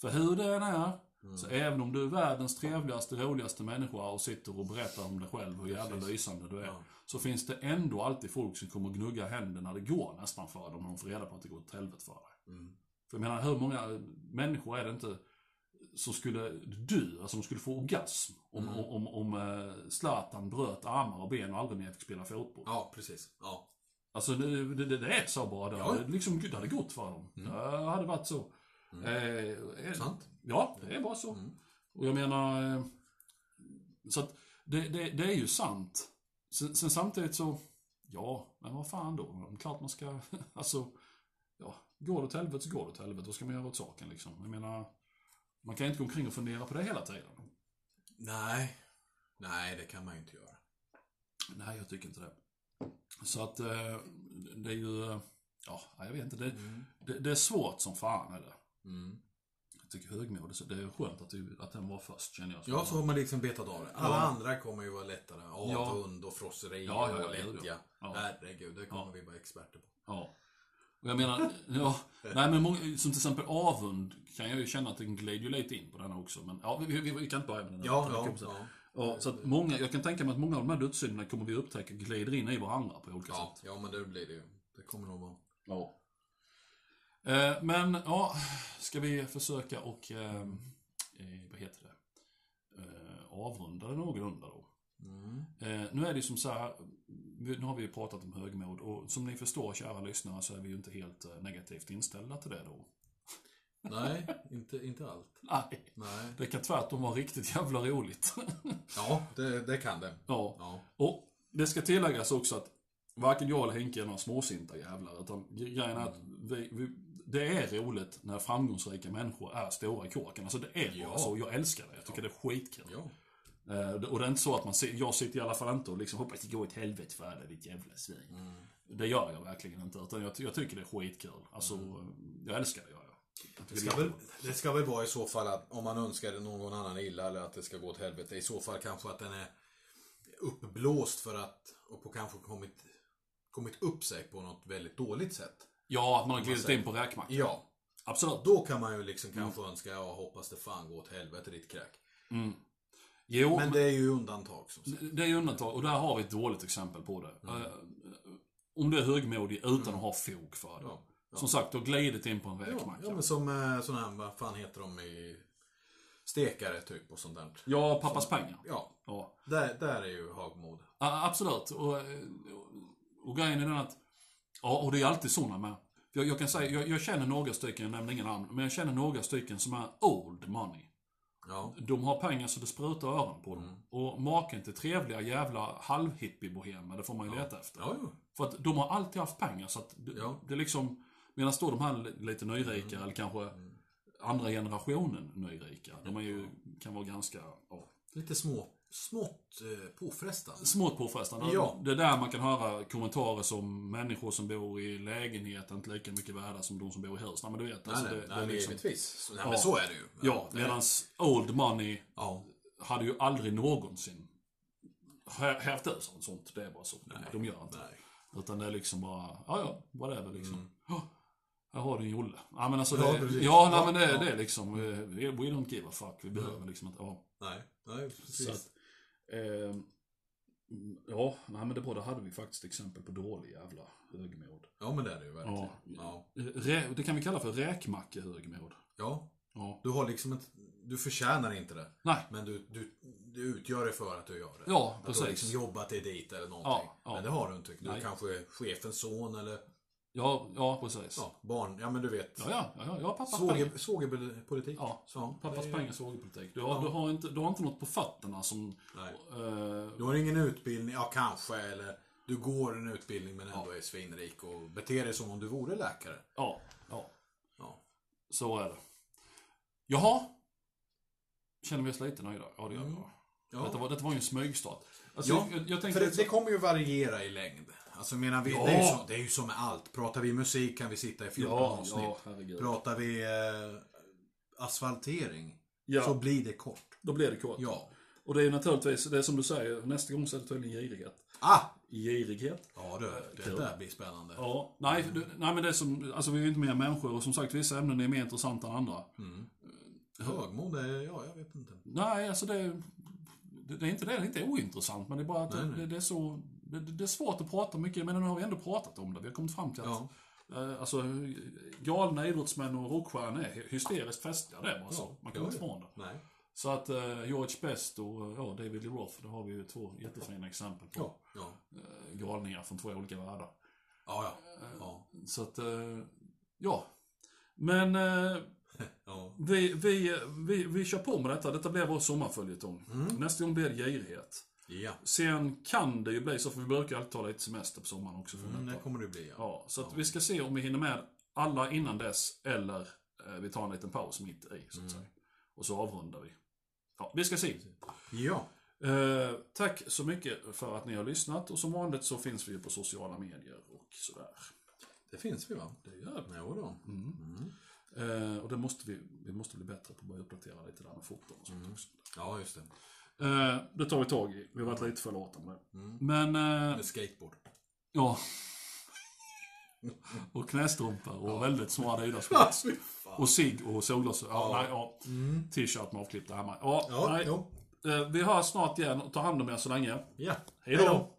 [SPEAKER 1] För hur det än är,
[SPEAKER 2] Mm.
[SPEAKER 1] så även om du är världens trevligaste, roligaste människa och sitter och berättar om dig själv hur jävla lysande du är.
[SPEAKER 2] Ja.
[SPEAKER 1] Så finns det ändå alltid folk som kommer gnugga händerna det går nästan för dem när de får reda på att det går åt helvete för dig.
[SPEAKER 2] Mm.
[SPEAKER 1] För jag menar, hur många människor är det inte som skulle dö, alltså de skulle få orgasm om, om, om, om eh, Zlatan bröt armar och ben och aldrig mer fick spela fotboll.
[SPEAKER 2] Ja, precis. Ja.
[SPEAKER 1] Alltså det, det, det, det är så bara. Det hade,
[SPEAKER 2] Ja.
[SPEAKER 1] liksom, det hade gått för dem. Det hade varit så. Eh, eh,
[SPEAKER 2] Sant.
[SPEAKER 1] Ja, det är bara så.
[SPEAKER 2] Mm.
[SPEAKER 1] Och jag menar... eh, Så att det, det, det är ju sant. Sen, sen samtidigt så... Ja, men vad fan då? Klart man ska... Alltså... Ja, går det åt helvete så går det åt helvete. Vad ska man göra åt saken liksom? Jag menar... Man kan inte gå omkring och fundera på det hela tiden.
[SPEAKER 2] Nej. Nej, det kan man ju inte göra.
[SPEAKER 1] Nej, jag tycker inte det. Så att eh, det är ju... eh, Ja, jag vet inte. Det, det, det är svårt som fan är det.
[SPEAKER 2] Mm.
[SPEAKER 1] Jag tycker högmod, så det är skönt att, du, att den var först känner jag.
[SPEAKER 2] Ja, så har man liksom betat av det. Alla
[SPEAKER 1] Ja.
[SPEAKER 2] andra kommer ju vara lättare. Avund och frosseri
[SPEAKER 1] Ja, ja, ja,
[SPEAKER 2] och
[SPEAKER 1] det är det.
[SPEAKER 2] lättja.
[SPEAKER 1] Ja.
[SPEAKER 2] Herregud, det kommer vi vara experter på.
[SPEAKER 1] Ja. Och jag menar, ja, nej men många, som till exempel avund kan jag ju känna att den glider ju lite in på den här också. Men ja, vi, vi, vi kan inte börja med den. här,
[SPEAKER 2] Ja,
[SPEAKER 1] utan vi
[SPEAKER 2] ja,
[SPEAKER 1] kommer sen.
[SPEAKER 2] ja.
[SPEAKER 1] ja. Så att många, jag kan tänka mig att många av de här dödssynderna kommer vi upptäcka glider in i varandra på olika
[SPEAKER 2] ja.
[SPEAKER 1] sätt.
[SPEAKER 2] Ja, men det blir det ju. Det kommer nog vara.
[SPEAKER 1] Ja. Eh, men ja, ska vi försöka och, eh, eh, vad heter det, eh, avrunda det någorlunda då.
[SPEAKER 2] Mm.
[SPEAKER 1] Eh, nu är det ju som så här, vi- nu har vi ju pratat om högmod och som ni förstår kära lyssnare så är vi ju inte helt eh, negativt inställda till det då.
[SPEAKER 2] Nej, inte, inte allt.
[SPEAKER 1] Nej.
[SPEAKER 2] Nej.
[SPEAKER 1] Det kan tvärtom vara riktigt jävla roligt.
[SPEAKER 2] Ja, det, det kan det.
[SPEAKER 1] ja.
[SPEAKER 2] Ja.
[SPEAKER 1] Och det ska tilläggas också att varken jag eller Henke är några småsinta jävlar. Utan grejen är att vi, vi, det är roligt när framgångsrika människor är stora i kåken. Alltså det är bara
[SPEAKER 2] Ja.
[SPEAKER 1] så. Jag älskar det. Jag tycker det är skitkul.
[SPEAKER 2] ja.
[SPEAKER 1] Eh, och det är inte så att man ser, jag sitter i alla fall inte och liksom hoppas det går åt helvete för alla ditt jävla svin.
[SPEAKER 2] Mm.
[SPEAKER 1] Det gör jag verkligen inte. Utan jag, jag tycker det är skitkul. Alltså, jag älskar det gör jag. jag
[SPEAKER 2] Det
[SPEAKER 1] tycker
[SPEAKER 2] Mm.
[SPEAKER 1] det
[SPEAKER 2] ska,
[SPEAKER 1] är
[SPEAKER 2] väl, det ska väl vara i så fall att om man önskar någon annan illa eller att det ska gå åt helvete. I så fall kanske att den är uppblåst för att och på kanske kommit, kommit upp sig på något väldigt dåligt sätt.
[SPEAKER 1] Ja, att man har glidit
[SPEAKER 2] säger-
[SPEAKER 1] in på räkmackan.
[SPEAKER 2] Ja,
[SPEAKER 1] Absolut.
[SPEAKER 2] då kan man ju liksom kanske önska ja hoppas det fan går åt helvete ditt kräk.
[SPEAKER 1] Jo,
[SPEAKER 2] Men det är ju undantag som sagt.
[SPEAKER 1] Det är ju undantag och där har vi ett dåligt exempel på det.
[SPEAKER 2] Mm.
[SPEAKER 1] Eh, Om du är högmodig utan att ha fog för det.
[SPEAKER 2] Ja, ja.
[SPEAKER 1] Som sagt, du har glidit in på en
[SPEAKER 2] Ja,
[SPEAKER 1] räkmacka.
[SPEAKER 2] ja men som eh, sån här, vad fan heter de i stekare typ och sånt där.
[SPEAKER 1] Ja, pappas pengar.
[SPEAKER 2] Ja,
[SPEAKER 1] Ja.
[SPEAKER 2] där, där är ju Hagmod.
[SPEAKER 1] Ja, absolut. Och, eh, och grejen är den att, ja, och det är alltid såna med. Jag, jag kan säga, jag, jag känner några stycken, jag nämner inga namn, men jag känner några stycken som är old money.
[SPEAKER 2] Ja,
[SPEAKER 1] De har pengar så det sprutar öron på
[SPEAKER 2] Mm.
[SPEAKER 1] dem. Och maken till trevliga jävla halvhippie-bohemer, det får man ju leta efter.
[SPEAKER 2] ja jo.
[SPEAKER 1] För att de har alltid haft pengar så att det,
[SPEAKER 2] Ja. Mm.
[SPEAKER 1] det är liksom Medan då de här li- lite nyrika eller kanske andra generationen nyrika. De är ju, kan vara ganska ja,
[SPEAKER 2] Lite små, smått eh, påfrestande.
[SPEAKER 1] smått påfrestande.
[SPEAKER 2] Ja.
[SPEAKER 1] Det är där man kan höra kommentarer som människor som bor i lägenhet är inte lika mycket värda som de som bor i hus. Nej men du vet.
[SPEAKER 2] Nej,
[SPEAKER 1] alltså,
[SPEAKER 2] nej,
[SPEAKER 1] det,
[SPEAKER 2] nej,
[SPEAKER 1] det är
[SPEAKER 2] men
[SPEAKER 1] liksom,
[SPEAKER 2] givetvis. Så- Nej,
[SPEAKER 1] Ja.
[SPEAKER 2] men så är det ju.
[SPEAKER 1] ja, medans old money
[SPEAKER 2] ja.
[SPEAKER 1] hade ju aldrig någonsin hä- hävt ut sånt, sånt. Det är bara så. de gör inte.
[SPEAKER 2] Nej.
[SPEAKER 1] Utan det är liksom bara, ja ja, vad är det liksom. Ja, här har du en jolle. Ja men alltså, det,
[SPEAKER 2] Mm. Ja,
[SPEAKER 1] ja,
[SPEAKER 2] precis.
[SPEAKER 1] nej,
[SPEAKER 2] Ja,
[SPEAKER 1] men det,
[SPEAKER 2] ja. Mm.
[SPEAKER 1] det är liksom, eh, we don't give a fuck. Vi behöver liksom inte, ja.
[SPEAKER 2] Nej, nej, precis.
[SPEAKER 1] Så att, eh, ja, nej men det både hade vi faktiskt exempel på dålig jävla högmod.
[SPEAKER 2] Ja, men det är det ju verkligen.
[SPEAKER 1] Ja.
[SPEAKER 2] Ja. Ja.
[SPEAKER 1] Eh, Rä, det kan vi kalla för räkmackehögmod. Ja.
[SPEAKER 2] du har liksom inte, du förtjänar inte det.
[SPEAKER 1] Nej.
[SPEAKER 2] Men du, du, du utgör det för att du gör det.
[SPEAKER 1] Ja,
[SPEAKER 2] att du har
[SPEAKER 1] precis.
[SPEAKER 2] liksom jobbat dig dit eller någonting.
[SPEAKER 1] Ja, ja.
[SPEAKER 2] Men det har du inte. Du
[SPEAKER 1] Nej.
[SPEAKER 2] kanske är chefens son eller
[SPEAKER 1] Ja, ja precis. Ja,
[SPEAKER 2] ja, barn. Ja, men du vet.
[SPEAKER 1] ja, ja, ja, ja pappas pengar.
[SPEAKER 2] Svåger- Svågerpolitik.
[SPEAKER 1] Ja.
[SPEAKER 2] Så,
[SPEAKER 1] Pappas
[SPEAKER 2] det-
[SPEAKER 1] pengar, svågerpolitik. Du, har- du, har inte- du har inte något på fötterna som...
[SPEAKER 2] Nej.
[SPEAKER 1] Eh,
[SPEAKER 2] Du har ingen utbildning, ja kanske, eller du går en utbildning men ändå är svinrik och beter dig som om du vore läkare.
[SPEAKER 1] ja, ja.
[SPEAKER 2] Ja.
[SPEAKER 1] Så är det. Jaha. Känner vi oss lite nöjda? Ja, det gör vi. va?
[SPEAKER 2] Ja.
[SPEAKER 1] Detta, var, detta var ju en smygstart. Alltså,
[SPEAKER 2] Ja,
[SPEAKER 1] jag, jag
[SPEAKER 2] För
[SPEAKER 1] tänkte...
[SPEAKER 2] det, det kommer ju variera i längd. Alltså menar vi,
[SPEAKER 1] Ja.
[SPEAKER 2] det, är ju som, det är ju som med allt. Pratar vi musik kan vi sitta i 14
[SPEAKER 1] ja,
[SPEAKER 2] avsnitt.
[SPEAKER 1] ja, herregud.
[SPEAKER 2] Pratar vi eh, asfaltering
[SPEAKER 1] Ja.
[SPEAKER 2] så blir det kort.
[SPEAKER 1] Då blir det kort.
[SPEAKER 2] Ja.
[SPEAKER 1] Och det är ju naturligtvis, det är som du säger, nästa gång så är det tydligen girighet.
[SPEAKER 2] Ah!
[SPEAKER 1] Girighet?
[SPEAKER 2] Ja du, det
[SPEAKER 1] Kul.
[SPEAKER 2] där blir spännande.
[SPEAKER 1] Ja. Nej, du, nej men det är som, alltså vi är ju inte mer människor och som sagt vissa ämnen är mer intressanta än andra.
[SPEAKER 2] Mm. Högmod är, ja jag vet inte.
[SPEAKER 1] Nej, alltså det, det, det är inte det, det är inte ointressant men det är bara att
[SPEAKER 2] Nej, nej.
[SPEAKER 1] Det, det är så, det, det är svårt att prata mycket men nu har vi ändå pratat om det. Vi har kommit fram till att
[SPEAKER 2] Ja.
[SPEAKER 1] eh, Alltså, galna idrottsmän och rockstjärnor är hysteriskt festliga, det är bara så.
[SPEAKER 2] Ja,
[SPEAKER 1] Man kommer
[SPEAKER 2] ja,
[SPEAKER 1] inte
[SPEAKER 2] ja.
[SPEAKER 1] ifrån det.
[SPEAKER 2] Nej.
[SPEAKER 1] Så att eh, George Best och eh, ja, David Lee Roth, det har vi ju två jättefina exempel på.
[SPEAKER 2] Ja. Ja.
[SPEAKER 1] eh, galningar från två olika världar.
[SPEAKER 2] Ja, ja. ja.
[SPEAKER 1] Så att, eh, ja. Men eh,
[SPEAKER 2] ja.
[SPEAKER 1] vi, vi, vi, vi kör på med detta. Detta blir vår sommarföljetong.
[SPEAKER 2] Mm.
[SPEAKER 1] Nästa gång blir det girighet.
[SPEAKER 2] ja.
[SPEAKER 1] Sen kan det ju bli så, för vi brukar alltid ta lite semester på sommaren också från
[SPEAKER 2] Mm, det
[SPEAKER 1] detta.
[SPEAKER 2] kommer det bli ja.
[SPEAKER 1] Ja, så att vi ska se om vi hinner med alla innan dess, eller eh, vi tar en liten paus mitt i,
[SPEAKER 2] Mm.
[SPEAKER 1] så att säga. Och så avrundar vi. Ja, vi ska se.
[SPEAKER 2] Ja.
[SPEAKER 1] Eh, tack så mycket för att ni har lyssnat och som vanligt så finns vi ju på sociala medier och sådär. Mm.
[SPEAKER 2] Det finns vi va? Det gör vi. Mm. Jodå.
[SPEAKER 1] Eh, och det måste vi, vi måste bli bättre på att börja uppdatera lite där med foton och sånt också.
[SPEAKER 2] Ja, just det.
[SPEAKER 1] Eh, det tar vi tag i. Vi har varit lite för lata med det. Men, eh,
[SPEAKER 2] Mm. Med skateboard.
[SPEAKER 1] ja. och knästrumpor och väldigt små adidas shorts Och cigg och solglasögon. Ja, nej, ja. T-shirt med avklippta hammar. Ja,
[SPEAKER 2] Ja,
[SPEAKER 1] nej.
[SPEAKER 2] jo.
[SPEAKER 1] Eh, vi hörs snart igen. Ta hand om er så länge.
[SPEAKER 2] Ja.
[SPEAKER 1] Hej då!
[SPEAKER 2] Hej då.